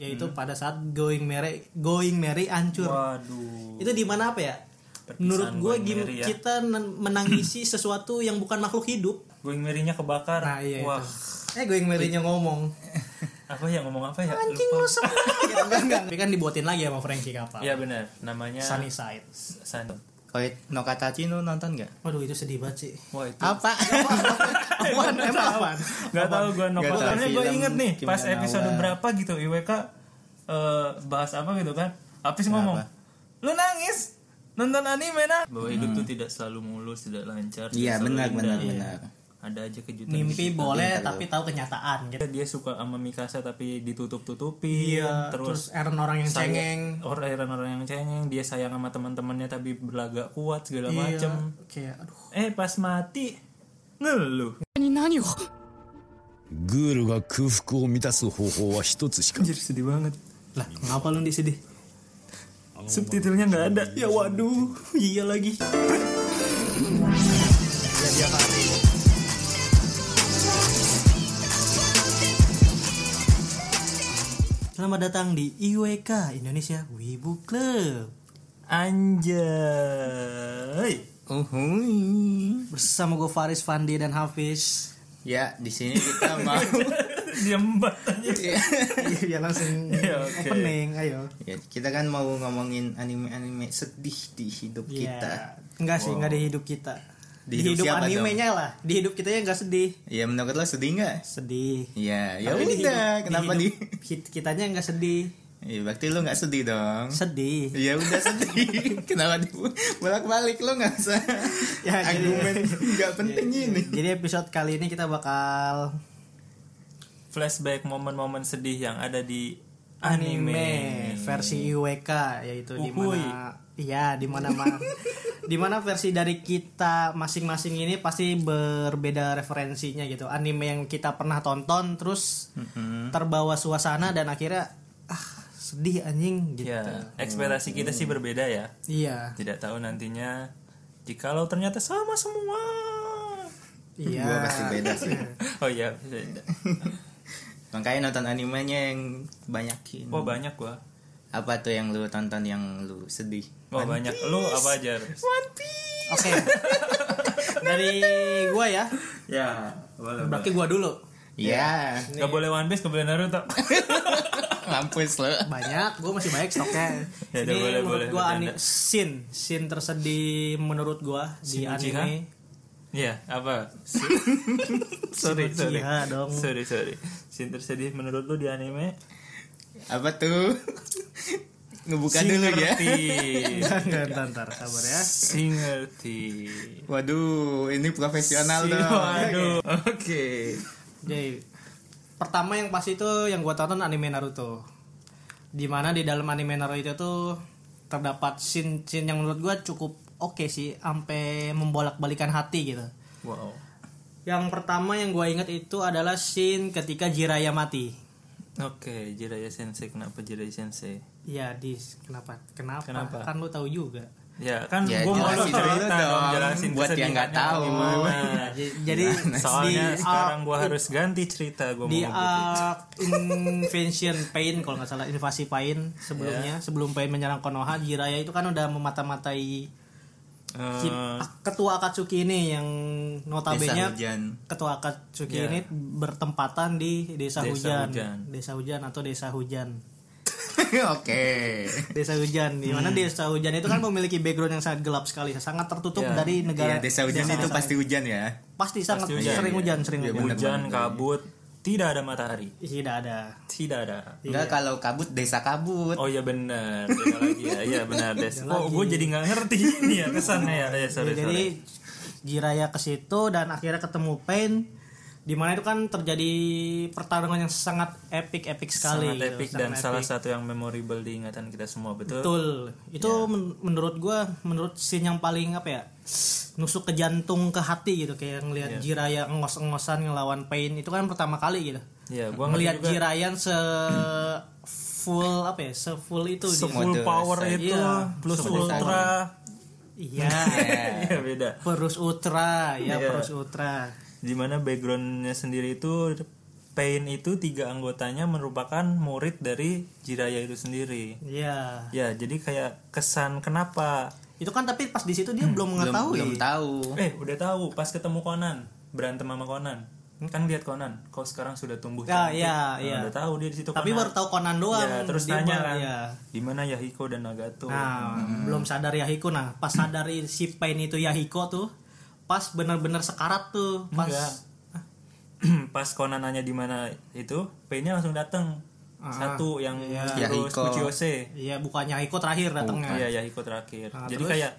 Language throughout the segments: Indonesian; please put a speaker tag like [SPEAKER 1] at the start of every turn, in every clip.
[SPEAKER 1] yaitu pada saat going merry going merry hancur
[SPEAKER 2] Waduh.
[SPEAKER 1] itu di mana apa ya
[SPEAKER 2] Perpisahan
[SPEAKER 1] menurut gue
[SPEAKER 2] Going Merry ya.
[SPEAKER 1] kita nen- menangisi sesuatu yang bukan makhluk hidup
[SPEAKER 2] Going merry-nya kebakar.
[SPEAKER 1] nah iya
[SPEAKER 2] Wah.
[SPEAKER 1] itu eh going merry-nya ngomong
[SPEAKER 2] Apa ya ngomong apa ya?
[SPEAKER 1] anjing
[SPEAKER 2] Lupa.
[SPEAKER 1] lu semua Gitu, enggak enggak tapi kan dibuatin lagi sama Frankie kapal
[SPEAKER 2] Iya benar. Namanya
[SPEAKER 1] Sunny Side
[SPEAKER 2] Sun.
[SPEAKER 3] Kalau Nokatachi lu nonton gak?
[SPEAKER 1] waduh itu sedih banget sih
[SPEAKER 2] Wah itu.
[SPEAKER 3] Apa?
[SPEAKER 1] Apaan? Emang apaan?
[SPEAKER 2] Gak tau gue
[SPEAKER 3] Nggak
[SPEAKER 2] nopal
[SPEAKER 3] tahu.
[SPEAKER 2] Soalnya gue
[SPEAKER 3] Film
[SPEAKER 2] inget nih
[SPEAKER 3] Kimi
[SPEAKER 2] Pas
[SPEAKER 3] no Na wa.
[SPEAKER 2] episode berapa gitu IWK eh, Bahas apa gitu kan Apis ngomong Lu nangis Nonton anime nah Bahwa hidup tuh tidak selalu mulus Tidak lancar tidak
[SPEAKER 3] Iya
[SPEAKER 2] selalu
[SPEAKER 3] benar
[SPEAKER 2] indah.
[SPEAKER 3] benar benar.
[SPEAKER 2] Ada aja kejutan
[SPEAKER 1] mimpi boleh tapi tahu kenyataan gitu
[SPEAKER 2] Dia suka sama Mikasa Tapi ditutup-tutupi
[SPEAKER 1] iya
[SPEAKER 2] Terus
[SPEAKER 1] terus Eren orang yang
[SPEAKER 2] sayang-
[SPEAKER 1] cengeng
[SPEAKER 2] Orang orang yang cengeng Dia sayang sama teman-temannya Tapi berlagak kuat segala
[SPEAKER 1] iya
[SPEAKER 2] macem
[SPEAKER 1] kayak aduh
[SPEAKER 2] Eh pas mati Ngeluh
[SPEAKER 4] 何を
[SPEAKER 5] グールが空腹を満たす方法は一つしか
[SPEAKER 2] Anjir sedih banget
[SPEAKER 1] lah ngapa lu di sedih
[SPEAKER 2] Subtitlenya nggak ada
[SPEAKER 1] ya waduh iya lagi Selamat datang di IWK Indonesia Wibu Club
[SPEAKER 2] Anjay.
[SPEAKER 3] Uhuy.
[SPEAKER 1] bersama gue Faris Fandi dan Hafiz.
[SPEAKER 3] Ya di sini kita mau.
[SPEAKER 2] Diam banget.
[SPEAKER 1] Iya biar langsung
[SPEAKER 2] Iya, oke.
[SPEAKER 1] opening, ayo.
[SPEAKER 3] ya, kita kan mau ngomongin anime-anime sedih di hidup
[SPEAKER 1] Iya.
[SPEAKER 3] kita.
[SPEAKER 1] Enggak sih, enggak di hidup kita. Di,
[SPEAKER 3] Di
[SPEAKER 1] hidup,
[SPEAKER 3] hidup siapa dong?
[SPEAKER 1] animenya lah. Di hidup kita ya enggak sedih.
[SPEAKER 3] Ya menurut lo sedih nggak?
[SPEAKER 1] Sedih.
[SPEAKER 3] Ya ya
[SPEAKER 1] Tapi di hidup-
[SPEAKER 3] udah. Kenapa di?
[SPEAKER 1] hidup kit- kitanya enggak sedih.
[SPEAKER 3] Ya, berarti lo nggak sedih dong.
[SPEAKER 1] Sedih.
[SPEAKER 3] Ya udah sedih. Kenapa di bolak balik lo nggak usah
[SPEAKER 1] Ya, jadi-
[SPEAKER 3] argumen nggak penting ini.
[SPEAKER 1] Jadi episode kali ini kita bakal
[SPEAKER 2] Flashback momen-momen sedih yang ada di
[SPEAKER 1] anime,
[SPEAKER 2] anime.
[SPEAKER 1] versi IWK yaitu di
[SPEAKER 2] Uhuy.
[SPEAKER 1] mana iya di mana mana di mana versi dari kita masing-masing ini pasti berbeda referensinya gitu anime yang kita pernah tonton terus terbawa suasana dan akhirnya ah sedih anjing gitu
[SPEAKER 2] Ya, ekspektasi kita sih berbeda ya.
[SPEAKER 1] iya
[SPEAKER 2] Tidak tahu nantinya jikalau ternyata sama semua.
[SPEAKER 1] iya
[SPEAKER 3] Gua pasti beda sih.
[SPEAKER 2] Oh iya, beda.
[SPEAKER 3] Makanya nonton animenya yang banyakin.
[SPEAKER 1] Oh.
[SPEAKER 2] Wah oh, banyak gua.
[SPEAKER 3] Apa tuh yang lu tonton yang lu sedih?
[SPEAKER 2] Wah banyak. Lu apa aja?
[SPEAKER 1] oke dari gua ya
[SPEAKER 2] Ya, boleh.
[SPEAKER 1] berarti gua dulu
[SPEAKER 3] Ya,
[SPEAKER 2] Gak boleh One Piece, gak boleh Naruto.
[SPEAKER 3] mampus lo.
[SPEAKER 1] banyak gue masih banyak stoknya
[SPEAKER 2] Ya udah,
[SPEAKER 1] ini
[SPEAKER 2] boleh,
[SPEAKER 1] menurut
[SPEAKER 2] boleh,
[SPEAKER 1] gue
[SPEAKER 2] bercanda.
[SPEAKER 1] anime scene scene tersedih menurut gue di
[SPEAKER 2] Shin
[SPEAKER 1] anime
[SPEAKER 2] Iya, apa?
[SPEAKER 1] sorry
[SPEAKER 2] sorry.
[SPEAKER 1] dong
[SPEAKER 2] sorry, sorry. Scene tersedih menurut lu di anime?
[SPEAKER 3] Apa tuh? Ngebuka dulu ya.
[SPEAKER 2] Singerti.
[SPEAKER 1] nggak Iya, ntar ntar, sabar ya
[SPEAKER 2] Singerti.
[SPEAKER 3] Waduh, ini profesional dong.
[SPEAKER 2] Waduh. Oke.
[SPEAKER 1] jadi pertama yang pasti itu yang gue tonton anime Naruto dimana di dalam anime Naruto itu terdapat scene scene yang menurut gue cukup oke sih sampai membolak balikan hati gitu
[SPEAKER 2] Wow.
[SPEAKER 1] yang pertama yang gue ingat itu adalah scene ketika Jiraiya mati
[SPEAKER 2] Oke, Jiraiya Sensei kenapa Jiraiya Sensei?
[SPEAKER 1] Iya, dis. Kenapa? Kenapa?
[SPEAKER 2] Kenapa?
[SPEAKER 1] Kan lu tahu juga.
[SPEAKER 2] Ya kan
[SPEAKER 3] Ya,
[SPEAKER 2] gua mau lu
[SPEAKER 3] jelasin dulu
[SPEAKER 2] cerita dong,
[SPEAKER 3] dong,
[SPEAKER 2] jelasin
[SPEAKER 3] buat yang nggak
[SPEAKER 2] kesedihannya
[SPEAKER 3] tahu.
[SPEAKER 2] gimana.
[SPEAKER 1] J- Jadi
[SPEAKER 2] Iya, Soalnya
[SPEAKER 1] di
[SPEAKER 2] sekarang
[SPEAKER 1] arc-
[SPEAKER 2] gua harus ganti cerita gua
[SPEAKER 1] di
[SPEAKER 2] mau
[SPEAKER 1] arc Invasion Pain kalau nggak salah invasi Pain sebelumnya sebelum Pain menyerang Konoha Jiraiya itu kan udah memata-matai
[SPEAKER 2] Eh,
[SPEAKER 1] ki- ah, ketua Akatsuki ini yang
[SPEAKER 3] Desa
[SPEAKER 1] notabene
[SPEAKER 3] hujan.
[SPEAKER 1] ketua Akatsuki
[SPEAKER 2] Iya.
[SPEAKER 1] ini bertempatan di desa,
[SPEAKER 2] Desa
[SPEAKER 1] hujan.
[SPEAKER 2] Hujan.
[SPEAKER 1] desa hujan atau desa hujan
[SPEAKER 3] Oke.
[SPEAKER 1] desa hujan di mana desa hujan itu kan memiliki background yang sangat gelap sekali sangat tertutup
[SPEAKER 2] Iya.
[SPEAKER 1] dari negara
[SPEAKER 3] Iya, desa hujan itu pasti hujan ya.
[SPEAKER 1] pasti sangat
[SPEAKER 2] Pasti hujan,
[SPEAKER 1] sering
[SPEAKER 2] iya.
[SPEAKER 1] hujan sering
[SPEAKER 3] Iya,
[SPEAKER 1] hujan
[SPEAKER 3] bener.
[SPEAKER 2] hujan kabut, tidak ada matahari.
[SPEAKER 1] tidak ada
[SPEAKER 2] Tidak ada.
[SPEAKER 1] Iya.
[SPEAKER 3] Enggak kalau kabut desa kabut.
[SPEAKER 2] Oh iya benar, beda lagi ya. Iya benar, Des. Kok gue jadi nggak ngerti ini ya kesannya ya. Ya sorry,
[SPEAKER 1] Iya, jadi
[SPEAKER 2] sorry.
[SPEAKER 1] Jiraya ke situ dan akhirnya ketemu Pain di mana itu kan terjadi pertarungan yang sangat epic epic sekali
[SPEAKER 2] sangat
[SPEAKER 1] gitu,
[SPEAKER 2] epic
[SPEAKER 1] sangat
[SPEAKER 2] dan
[SPEAKER 1] epic.
[SPEAKER 2] salah satu yang memorable di ingatan kita semua betul.
[SPEAKER 1] betul itu
[SPEAKER 2] Ya.
[SPEAKER 1] men- menurut gua menurut scene yang paling apa ya nusuk ke jantung ke hati gitu kayak
[SPEAKER 2] Ya.
[SPEAKER 1] ngelihat Jiraya ngos-ngosan ngelawan Pain itu kan pertama kali gitu
[SPEAKER 2] Ya, gua ngeliat
[SPEAKER 1] ngelihat Jiraya se full apa ya se full itu dia.
[SPEAKER 2] full
[SPEAKER 3] Model
[SPEAKER 2] power
[SPEAKER 3] saya.
[SPEAKER 2] itu
[SPEAKER 1] Iya.
[SPEAKER 2] plus
[SPEAKER 3] Semua
[SPEAKER 2] ultra.
[SPEAKER 1] iya
[SPEAKER 2] Iya beda.
[SPEAKER 1] Perus Ultra ya
[SPEAKER 2] Iya.
[SPEAKER 1] Perus Ultra
[SPEAKER 2] Dimana backgroundnya sendiri itu Pain itu tiga anggotanya merupakan murid dari Jiraya itu sendiri.
[SPEAKER 1] Iya.
[SPEAKER 2] Ya, jadi kayak kesan kenapa?
[SPEAKER 1] Itu kan tapi pas di situ dia belum mengetahui.
[SPEAKER 3] belum tahu
[SPEAKER 2] Eh, udah tahu pas ketemu Conan, berantem sama Conan. Kan lihat Conan, kau sekarang sudah
[SPEAKER 1] Ya,
[SPEAKER 2] tumbuh. cantik.
[SPEAKER 1] iya,
[SPEAKER 2] Nah,
[SPEAKER 1] iya.
[SPEAKER 2] Udah tahu dia di situ.
[SPEAKER 1] Tapi
[SPEAKER 2] Conan.
[SPEAKER 1] baru tahu Conan doang.
[SPEAKER 2] Ya, terus
[SPEAKER 1] Dia
[SPEAKER 2] tanya
[SPEAKER 1] baru-
[SPEAKER 2] kan,
[SPEAKER 1] iya.
[SPEAKER 2] di mana Yahiko dan Nagato?
[SPEAKER 1] Nah, belum sadar Yahiko. Nah, pas sadar si Pain itu Yahiko tuh, pas bener-bener sekarat tuh, pas
[SPEAKER 2] Enggak. pas Conan nanya di mana itu, Painnya langsung datang.
[SPEAKER 1] Ah,
[SPEAKER 2] Satu yang
[SPEAKER 3] Ya,
[SPEAKER 2] terus
[SPEAKER 3] Hiko.
[SPEAKER 2] Uchiose.
[SPEAKER 1] Iya, bukannya Yahiko terakhir datangnya.
[SPEAKER 2] Iya, Yahiko terakhir.
[SPEAKER 1] Nah,
[SPEAKER 2] Jadi kayak